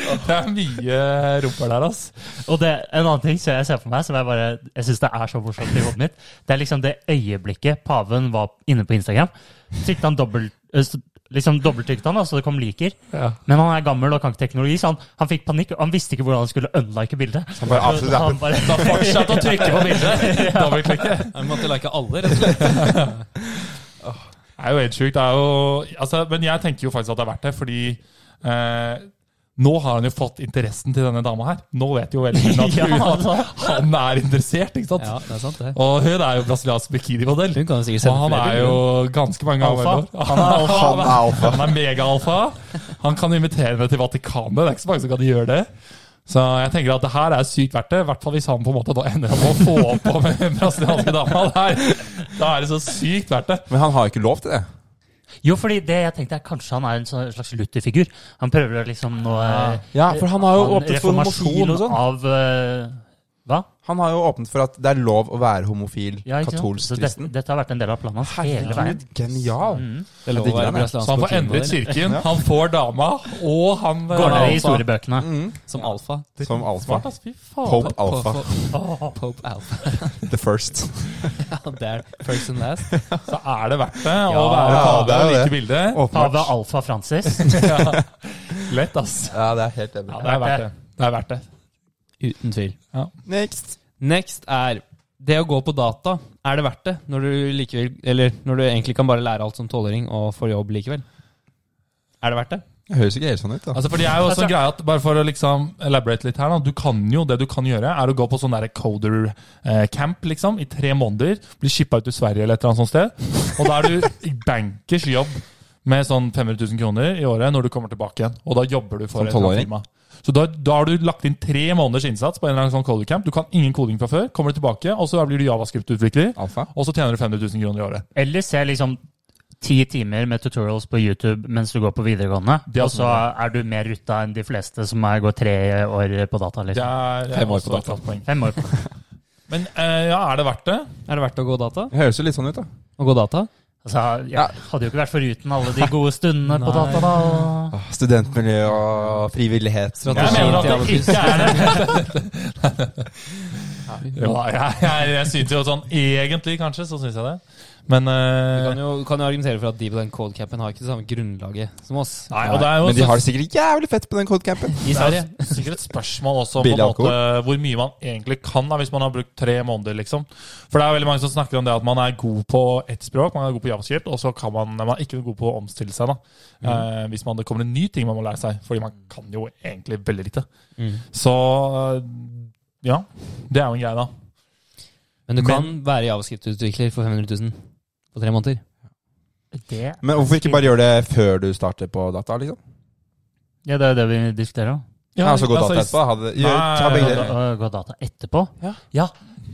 [SPEAKER 4] Det er mye rumper der, ass.
[SPEAKER 3] og det, en annen ting som jeg ser for meg, som jeg bare Jeg syns det er så morsomt i hodet mitt, det er liksom det øyeblikket paven var inne på Instagram. Trykte han dobbelt eh, s- Liksom dobbelttrykte han, da, så det kom liker.
[SPEAKER 4] Ja.
[SPEAKER 3] Men han er gammel og kan ikke teknologi, så han, han fikk panikk. og Han visste ikke hvordan han skulle unlike bildet.
[SPEAKER 1] Så han bare avslutter appen.
[SPEAKER 3] han bare,
[SPEAKER 4] Da fortsatt å trykke på bildet. Dobbeltklikke.
[SPEAKER 2] Jeg måtte like alle, rett og slett.
[SPEAKER 4] Det er jo helt sjukt. Det er jo, altså, men jeg tenker jo faktisk at det er verdt det, fordi eh, nå har han jo fått interessen til denne dama her. Nå vet jo veldig hun at,
[SPEAKER 3] Ja, altså.
[SPEAKER 4] at han er interessert, ikke sant?
[SPEAKER 2] Ja, det er sant, det.
[SPEAKER 4] Og hun er jo brasiliansk bikinimodell.
[SPEAKER 2] Hun kan jo sikkert
[SPEAKER 4] Og
[SPEAKER 2] sende
[SPEAKER 4] han
[SPEAKER 2] flere
[SPEAKER 4] er
[SPEAKER 2] bilder.
[SPEAKER 4] jo ganske mange
[SPEAKER 3] Alfa.
[SPEAKER 4] ganger
[SPEAKER 3] Han er alfa.
[SPEAKER 1] Han er alfa.
[SPEAKER 4] Han er mega-alfa. Han kan invitere henne til Vatikanet. Det er ikke så mange som kan gjøre det. Så jeg tenker at det her er sykt verdt det. I hvert fall hvis han på en måte da ender opp med å få opp på med den brasilianske dama. Der. Da er det så sykt verdt det.
[SPEAKER 1] Men han har jo ikke lov til det.
[SPEAKER 3] Jo, fordi det jeg tenkte er kanskje han er en sånn slags Luther-figur. Han prøver å liksom nå eh,
[SPEAKER 1] Ja, for han har jo
[SPEAKER 3] han-
[SPEAKER 1] åpnet for homofil og sånn.
[SPEAKER 3] av eh, Hva?
[SPEAKER 1] Han har jo åpnet for at det er lov å være homofil,
[SPEAKER 3] Ja, ikke sant? Så
[SPEAKER 1] katolsk
[SPEAKER 3] det,
[SPEAKER 1] kristen.
[SPEAKER 3] dette har vært en del av planen hans hele veien. Mm.
[SPEAKER 1] Herregud, genial!
[SPEAKER 2] Det er
[SPEAKER 1] Jeg
[SPEAKER 2] lov å
[SPEAKER 1] digger
[SPEAKER 2] være
[SPEAKER 1] den, jeg.
[SPEAKER 4] Så han
[SPEAKER 2] brasiliansk
[SPEAKER 4] får endret
[SPEAKER 2] bikinimodell,
[SPEAKER 4] kirken, han får dama, og han
[SPEAKER 3] Går ned i
[SPEAKER 4] alfa. Mm.
[SPEAKER 3] historiebøkene.
[SPEAKER 2] Som alfa.
[SPEAKER 1] Som alfa.
[SPEAKER 4] Smart, ass. Fy faen.
[SPEAKER 1] Pope Alpha.
[SPEAKER 2] Pope- Pope alfa.
[SPEAKER 1] The first.
[SPEAKER 2] Ja, det er first and last.
[SPEAKER 4] Så er det verdt det å
[SPEAKER 3] Ja,
[SPEAKER 4] være
[SPEAKER 1] ja, det er
[SPEAKER 4] pave og
[SPEAKER 1] det.
[SPEAKER 4] like bildet.
[SPEAKER 3] Pave
[SPEAKER 1] Åpenbart.
[SPEAKER 3] Alfa Francis.
[SPEAKER 4] Lett, ass.
[SPEAKER 1] Ja, det er helt enig.
[SPEAKER 4] Ja, det er verdt det. Det er verdt det.
[SPEAKER 2] Uten tvil.
[SPEAKER 1] Next.
[SPEAKER 2] Next er det å gå på data. Er det verdt det? Når du, likevel, eller når du egentlig kan bare lære alt som tolvåring og får jobb likevel. Er det verdt det?
[SPEAKER 1] Det høres ikke helt sånn ut, da.
[SPEAKER 4] Altså, for det er jo også en
[SPEAKER 3] Altså-
[SPEAKER 4] greie at, bare for å liksom elaborate litt her, da, du kan jo, det du kan gjøre, er å gå på sånn der coder-camp, liksom, i tre måneder, bli shippa ut til Sverige eller et eller annet sånt sted, og da er du i bankers jobb med sånn 500 000 kroner i året når du kommer tilbake igjen, og da jobber du for
[SPEAKER 1] Som
[SPEAKER 4] et eller annet
[SPEAKER 1] 12-åring.
[SPEAKER 4] firma. Så da, da har du lagt inn tre måneders innsats på en eller annen sånn coder-camp, du kan ingen koding fra før, kommer du tilbake, og så blir du JavaScript-utvikler,
[SPEAKER 1] Alfa.
[SPEAKER 4] og så tjener du 500 000 kroner i året.
[SPEAKER 3] Eller se liksom ti timer med tutorials på YouTube mens du går på videregående.
[SPEAKER 4] Det er
[SPEAKER 3] Og så
[SPEAKER 4] også-
[SPEAKER 3] er du mer rutta enn de fleste som er, går tre år på data.
[SPEAKER 4] Det
[SPEAKER 3] Liksom.
[SPEAKER 4] er, det er
[SPEAKER 1] Fem år
[SPEAKER 4] også
[SPEAKER 1] på
[SPEAKER 4] et
[SPEAKER 1] data.
[SPEAKER 4] godt poeng.
[SPEAKER 3] Fem år. på-
[SPEAKER 4] Men eh, ja, er det verdt det?
[SPEAKER 2] Er det verdt å gå data?
[SPEAKER 1] Det høres jo litt sånn ut, da.
[SPEAKER 2] Å gå data?
[SPEAKER 3] Altså, jeg hadde jo ikke vært foruten alle de gode stundene på
[SPEAKER 2] Nei.
[SPEAKER 3] data. da. og-
[SPEAKER 1] Ah, Studentmiljø og frivillighet.
[SPEAKER 4] Jeg mener at det
[SPEAKER 2] Strategi
[SPEAKER 4] ikke er det. Jo, da, jeg, jeg, jeg synes jo sånn Egentlig, kanskje, så syns jeg det. Men
[SPEAKER 2] Du
[SPEAKER 4] eh,
[SPEAKER 2] kan jo, kan jo argumentere for at de på den codecapen har ikke det samme grunnlaget som oss.
[SPEAKER 4] Nei, og det er jo
[SPEAKER 1] Men de
[SPEAKER 4] så-
[SPEAKER 1] har det sikkert jævlig fett på den codecampen.
[SPEAKER 2] I
[SPEAKER 4] det
[SPEAKER 2] Sverige.
[SPEAKER 4] er jo sikkert et spørsmål også om på
[SPEAKER 1] Billig
[SPEAKER 4] en måte, hvor mye man egentlig kan da, hvis man har brukt tre måneder. liksom. For det er veldig mange som snakker om det at man er god på ett språk, man er god på javascript, og så kan man, man er ikke god på å omstille seg da.
[SPEAKER 1] Mm.
[SPEAKER 4] Eh, hvis man, det kommer en ny ting man må lære seg. Fordi man kan jo egentlig veldig lite.
[SPEAKER 1] Mm.
[SPEAKER 4] Så eh, ja, det er jo en greie, da.
[SPEAKER 2] Men du kan være javascript-utvikler for 500 000 på tre måneder.
[SPEAKER 3] Det,
[SPEAKER 1] Men hvorfor ikke bare gjøre det før du starter på data, liksom?
[SPEAKER 3] ja, det er det vi diskuterer. da.
[SPEAKER 1] Ja, altså gå data
[SPEAKER 4] i-
[SPEAKER 1] etterpå. Ha det. Gjør,
[SPEAKER 4] Nei,
[SPEAKER 1] ta begge
[SPEAKER 4] ja,
[SPEAKER 3] Gå
[SPEAKER 1] deler.
[SPEAKER 3] da- gå data etterpå.
[SPEAKER 1] Ja.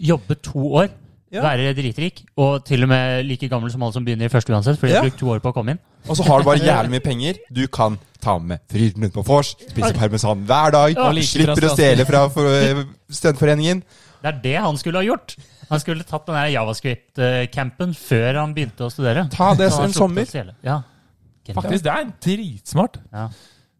[SPEAKER 3] Jobbe to år.
[SPEAKER 1] Ja.
[SPEAKER 3] Være dritrik, og til og med like gammel som alle som begynner i første uansett. Fordi de
[SPEAKER 1] Ja.
[SPEAKER 3] har brukt to år på å komme inn.
[SPEAKER 1] Og så har du bare jævlig mye penger. Du kan ta med fryden ut på vors, spise parmesan hver dag,
[SPEAKER 2] Og like
[SPEAKER 1] slipper å
[SPEAKER 2] trass-
[SPEAKER 1] stjele fra for- eh, studentforeningen.
[SPEAKER 3] Det er det han skulle ha gjort. Han skulle tatt den der javascript-campen før han begynte å studere.
[SPEAKER 1] Ta det
[SPEAKER 3] Så
[SPEAKER 1] en
[SPEAKER 3] han slapp å
[SPEAKER 1] sommer.
[SPEAKER 3] stjele. Ja.
[SPEAKER 4] Faktisk, det er dritsmart.
[SPEAKER 3] Ja.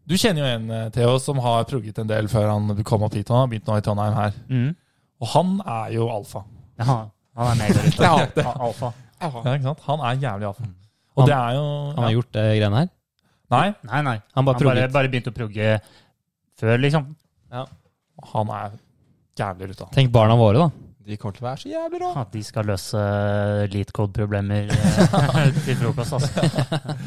[SPEAKER 4] Du kjenner jo en, eh, Theo, som har progget en del før han kom opp hit. og Han har begynt nå i Trondheim her.
[SPEAKER 3] Mm.
[SPEAKER 4] Og han er jo alfa.
[SPEAKER 3] Ja, han er megarytter.
[SPEAKER 1] Ja.
[SPEAKER 3] Al- Alfa.
[SPEAKER 4] Ja, ikke sant? Han er jævlig alfa.
[SPEAKER 2] Han-
[SPEAKER 4] Og det er jo
[SPEAKER 2] Han har
[SPEAKER 4] ja.
[SPEAKER 2] gjort det greiene her.
[SPEAKER 4] Nei,
[SPEAKER 3] Nei,
[SPEAKER 2] Han
[SPEAKER 3] nei.
[SPEAKER 2] bare
[SPEAKER 3] Han bare,
[SPEAKER 2] progget.
[SPEAKER 3] bare begynte å progge før, liksom.
[SPEAKER 4] han er jævlig ruta.
[SPEAKER 2] Tenk barna våre, da.
[SPEAKER 1] De kommer til å være så jævlig rå.
[SPEAKER 3] Ja, de skal løse leatcode-problemer til frokost, altså.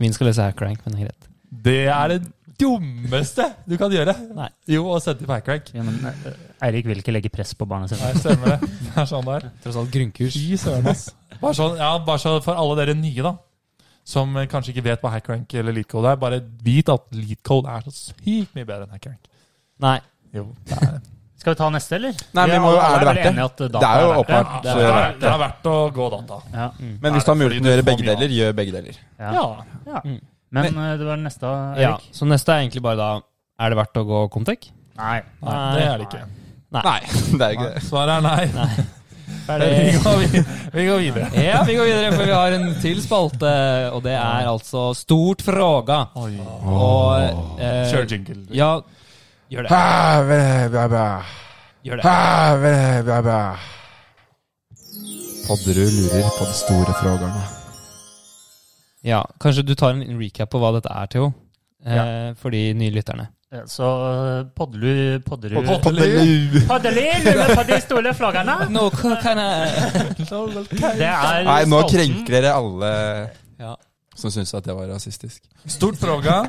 [SPEAKER 2] Min skal lese Hackrank, men det er greit.
[SPEAKER 4] Det er det dummeste du kan gjøre.
[SPEAKER 2] Nei.
[SPEAKER 4] Jo, å sette i packrack.
[SPEAKER 3] Ja, men, eh, Eirik vil ikke legge press på barna sine.
[SPEAKER 4] Nei, stemmer det. Det er sånn det er.
[SPEAKER 2] Tross alt grunnkurs.
[SPEAKER 4] Fy søren, ass. Bare sånn, ja, bare så for alle dere nye, da. Som eh, kanskje ikke vet hva hackrank eller leadcode er. Bare vit at leadcode er så sykt mye bedre enn hackrank.
[SPEAKER 2] Nei.
[SPEAKER 4] Jo, det er det.
[SPEAKER 3] Skal vi ta neste, eller?
[SPEAKER 1] Nei, men må jo- er det
[SPEAKER 3] vel
[SPEAKER 1] verdt det?
[SPEAKER 3] enige at data
[SPEAKER 1] Det er jo
[SPEAKER 3] verdt det?
[SPEAKER 1] åpenbart.
[SPEAKER 4] Det
[SPEAKER 1] Så
[SPEAKER 4] er,
[SPEAKER 1] gjør
[SPEAKER 4] verdt, det er verdt å gå data.
[SPEAKER 3] Ja,
[SPEAKER 1] Men hvis du har muligheten til å gjøre begge deler, gjør begge deler.
[SPEAKER 3] ja.
[SPEAKER 4] Ja.
[SPEAKER 3] ja.
[SPEAKER 2] Mm.
[SPEAKER 3] Men eh, det var den neste,
[SPEAKER 2] Ja.
[SPEAKER 3] Eirik.
[SPEAKER 2] Så neste er egentlig bare da Er det verdt å gå Comtec?
[SPEAKER 3] Nei.
[SPEAKER 4] Nei, det er det ikke.
[SPEAKER 1] Nei, det er ikke det.
[SPEAKER 4] Svaret er nei. Vi,
[SPEAKER 2] Ferdig.
[SPEAKER 4] går, vi, vi går videre.
[SPEAKER 2] Ja, vi går videre, for vi har en til spalte, og det er altså Stort fråga. Og eh,
[SPEAKER 4] Kjør jingle.
[SPEAKER 2] Ja, gjør det. Gjør det.
[SPEAKER 1] Podderud lurer på de store frågerne.
[SPEAKER 2] Ja, Kanskje du tar en recap på hva dette er, Theo? Eh, For de nye lytterne.
[SPEAKER 3] Ja, Så eh, Podlu Podderud
[SPEAKER 1] Podderud.
[SPEAKER 3] Paddelin med på de store flaggene!
[SPEAKER 2] No, kan jeg...
[SPEAKER 3] Det er
[SPEAKER 1] Nei, nå
[SPEAKER 3] spalten.
[SPEAKER 1] krenker dere alle
[SPEAKER 2] Ja.
[SPEAKER 1] som syns at det var rasistisk.
[SPEAKER 4] Stort fråga.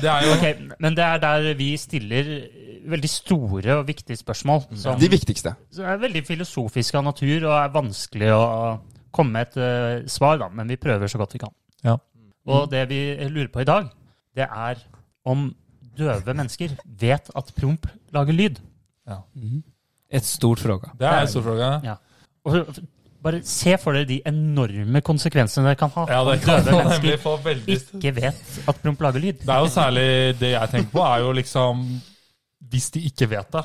[SPEAKER 4] Det er jo
[SPEAKER 3] Ok, men det er der vi stiller eh, veldig store og viktige spørsmål. Som
[SPEAKER 1] Mm. De viktigste.
[SPEAKER 3] som er veldig filosofiske av natur og er vanskelig å komme med et eh, svar, da, men vi prøver så godt vi kan.
[SPEAKER 4] Ja.
[SPEAKER 3] Og det vi lurer på i dag, det er om døve mennesker vet at promp lager lyd.
[SPEAKER 2] Et stort fråga.
[SPEAKER 4] Det er stort fråga.
[SPEAKER 3] Og bare se for dere de enorme konsekvensene det kan ha.
[SPEAKER 4] Ja, det
[SPEAKER 3] om
[SPEAKER 4] kan
[SPEAKER 3] døve
[SPEAKER 4] man nemlig
[SPEAKER 3] mennesker
[SPEAKER 4] få veldig
[SPEAKER 3] ikke vet at promp lager lyd.
[SPEAKER 4] Det er jo særlig det jeg tenker på, er jo liksom Hvis de ikke vet det,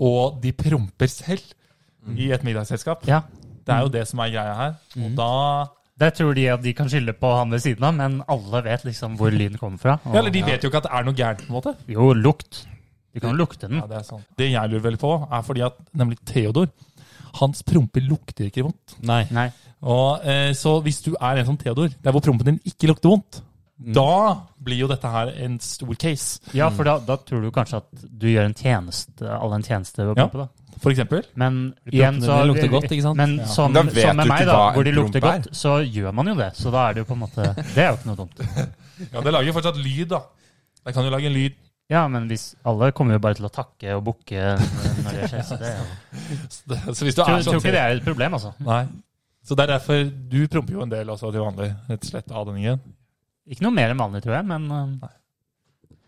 [SPEAKER 4] og de promper selv i et middagsselskap
[SPEAKER 3] Ja.
[SPEAKER 4] Det er jo det som er greia her. Og da
[SPEAKER 3] Der tror de at de kan skylde på han ved siden av, men alle vet liksom hvor lyden kommer fra. og-
[SPEAKER 4] ja, Eller de vet jo ikke at det er noe gærent, på en måte.
[SPEAKER 3] Jo, lukt. Du kan jo lukte den.
[SPEAKER 4] Ja, Det er sånn. Det jeg lurer veldig på, er fordi at nemlig Theodor Hans promper lukter ikke vondt.
[SPEAKER 2] Nei.
[SPEAKER 3] Nei.
[SPEAKER 4] Og, eh, så hvis du er en som Theodor, der hvor prompen din ikke lukter vondt, Mm. da blir jo dette her en stor case.
[SPEAKER 3] Ja, for da, da tror du kanskje at du gjør en tjeneste, alle en tjeneste ved å
[SPEAKER 4] Ja.
[SPEAKER 3] pumpe, da.
[SPEAKER 4] For eksempel.
[SPEAKER 3] Men igjen så
[SPEAKER 2] det lukter godt, ikke sant?
[SPEAKER 3] Men
[SPEAKER 4] Ja.
[SPEAKER 3] som,
[SPEAKER 1] Da vet
[SPEAKER 3] som med
[SPEAKER 1] du
[SPEAKER 3] meg,
[SPEAKER 1] ikke
[SPEAKER 3] da,
[SPEAKER 1] hva
[SPEAKER 3] hvor de
[SPEAKER 1] en
[SPEAKER 3] lukter
[SPEAKER 1] promp er.
[SPEAKER 3] godt, så gjør man jo det. Så da er det jo på en måte Det er jo ikke noe dumt.
[SPEAKER 4] Ja, det lager jo fortsatt lyd, da. Det kan jo lage en lyd.
[SPEAKER 3] Ja, men hvis alle kommer jo bare til å takke og bukke når det skjer. Så det er jo
[SPEAKER 4] Så, det, så hvis du
[SPEAKER 3] tror,
[SPEAKER 4] er
[SPEAKER 3] tror
[SPEAKER 4] sånn
[SPEAKER 3] ikke det er et problem, altså.
[SPEAKER 4] Nei. Så det er derfor du promper jo en del også til vanlig, rett og slett, av den igjen.
[SPEAKER 3] Ikke noe mer enn vanlig, tror jeg, men eh,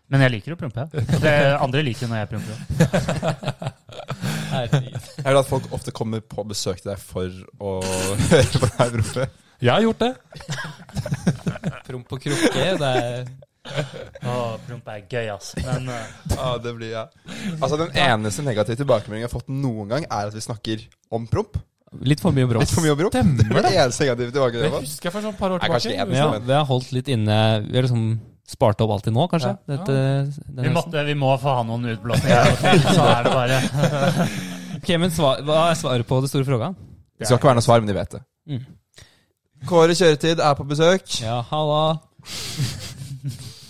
[SPEAKER 3] Men jeg liker å prompe. Og det andre liker når jeg promper.
[SPEAKER 1] Jeg vil at folk ofte kommer på besøk til deg for å høre på deg prompe.
[SPEAKER 4] Jeg har gjort det.
[SPEAKER 2] Promp og krukke, det er
[SPEAKER 3] Å, promp er gøy, ass. Men eh,
[SPEAKER 1] Ja, det blir jeg. Altså, Den eneste negative tilbakemeldingen jeg har fått noen gang, er at vi snakker om promp.
[SPEAKER 2] litt for mye brås.
[SPEAKER 1] Litt for mye om promp. Det
[SPEAKER 4] Stemmer
[SPEAKER 1] var
[SPEAKER 4] det?
[SPEAKER 1] den eneste negative
[SPEAKER 4] Det
[SPEAKER 1] tilbakemeldingen. jeg har fått.
[SPEAKER 4] husker jeg for sånn et par år
[SPEAKER 1] Nei, kanskje
[SPEAKER 4] tilbake.
[SPEAKER 1] en.
[SPEAKER 2] Ja, vi har holdt litt inne Vi har liksom spart opp alt til nå, kanskje.
[SPEAKER 4] Ja.
[SPEAKER 2] Dette, denne
[SPEAKER 3] vi,
[SPEAKER 2] høsten.
[SPEAKER 3] måtte, vi må få ha noen utblåsninger, av og til, så er det bare
[SPEAKER 2] Ok, men svar, Hva er svaret på det store frågan?
[SPEAKER 1] Det skal ikke være noe svar, men de vet det.
[SPEAKER 2] Mm.
[SPEAKER 1] Kåre Kjøretid er på besøk.
[SPEAKER 2] Ja, halla.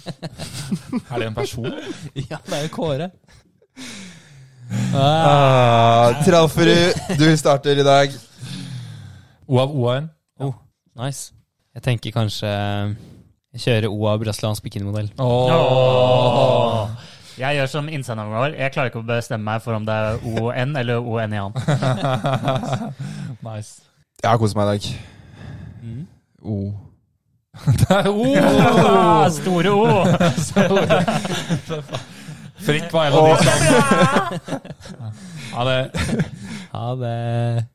[SPEAKER 4] Er det en person?
[SPEAKER 2] Ja, det er jo Kåre.
[SPEAKER 1] Ah, Tralferud, du starter i dag.
[SPEAKER 4] Oav Oaen.
[SPEAKER 2] Nice. Jeg tenker kanskje eh, jeg kjører OA brasiliansk bikinimodell.
[SPEAKER 3] Åh. Jeg gjør som innsenderen vår. Jeg klarer ikke å bestemme meg for om det er ON eller ONIAN.
[SPEAKER 4] nice.
[SPEAKER 1] Jeg har kost meg i dag.
[SPEAKER 2] Mm.
[SPEAKER 1] Oh.
[SPEAKER 4] oh.
[SPEAKER 3] Ah, store O!
[SPEAKER 4] Fritt var en av de som Ja, det,
[SPEAKER 2] Ha det.